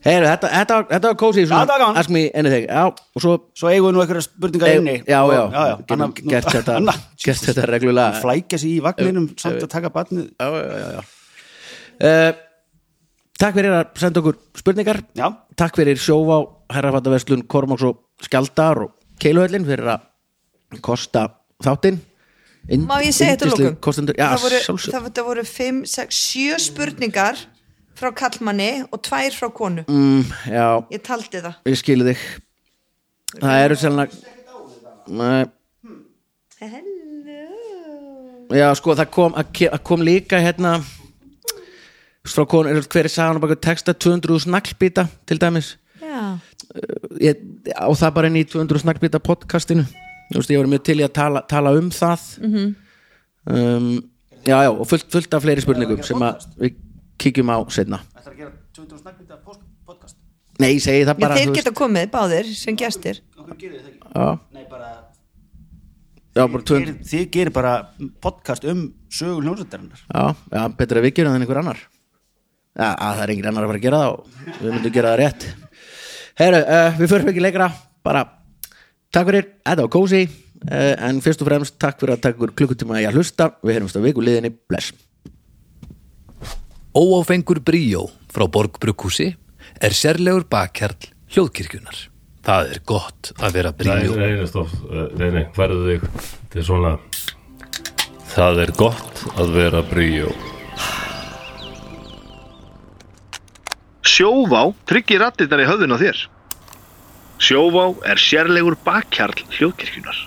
S4: Heyru, þetta, þetta, var- þetta var kósi
S5: Þetta var gaman.
S4: Ask me anything Já, og svo
S5: svo eigum við nú einhverja spurningar inni
S4: Já, já,
S5: Og- já, já.
S4: Getum
S5: Anna-
S4: gert þetta,
S5: Anna-
S4: gert þetta reglulega
S5: flækja sig í vagninum samt að taka barnið
S4: já, já, já, já. Uh, Takk fyrir að senda okkur spurningar
S5: Já.
S4: Takk fyrir sjóvá herrafattaverslun Kormáks og Skjaldar og Keiluhöllin fyrir að kosta þáttinn Ind,
S6: Má ég segja þetta
S4: yndislegir
S6: lókum?
S4: kostendur- Já,
S6: það voru,
S4: sjálfsög
S6: það, það voru 5, 6, 7 spurningar frá kallmanni og tvær frá konu mm.
S4: Já,
S6: Ég taldi það
S4: ég skilu þig Það eru sérlega Nei
S6: Hello
S4: Já, sko, það kom, að ke- að kom líka hérna frá konu, er- hver er sagan og baka texta 200 snaglbýta til dæmis
S6: Já,
S4: ég, á það bara inn í 200 snaglbýta podcastinu þú veist, ég var mjög til í að tala, tala um það
S6: Mhm.
S4: um, já, já, og fullt, fullt af fleiri spurningum sem að við kíkjum á setna
S5: Ætlar að gera 200 snakkvita podcast
S4: nei, ég segi það
S6: Já
S4: bara
S6: þeir
S4: þú
S6: geta komið báðir sem gestir
S5: Okkur gerir þetta ekki
S4: já,
S5: Nei, bara
S4: já, bara 200
S5: Þið, þið gerir bara podcast um sögur hljómsveitarinnar
S4: já, já, betur að við gerum það en einhver annar já, að það er einhver annar að fara að gera það og við myndum gera það rétt herru, uh, við förum ekki leikra bara, takk fyrir, þetta var kósi uh, en fyrst og fremst takk fyrir að takk fyrir klukkutíma í að hlusta við heyrumst á viku liðinni, bless
S2: Óáfengur bríó frá Borgbrukkúsi er sérlegur bakkjarl hljóðkirkjunar. Það er gott að vera
S3: Nei,
S2: bríó.
S3: nei, nei, stopp, Eh, nei, nei, færðu þig Þetta er svona Það er gott að vera bríó
S1: Sjóvá tryggir rattirnar í höfðun á þér. Sjóvá er sérlegur bakkjarl hljóðkirkjunar.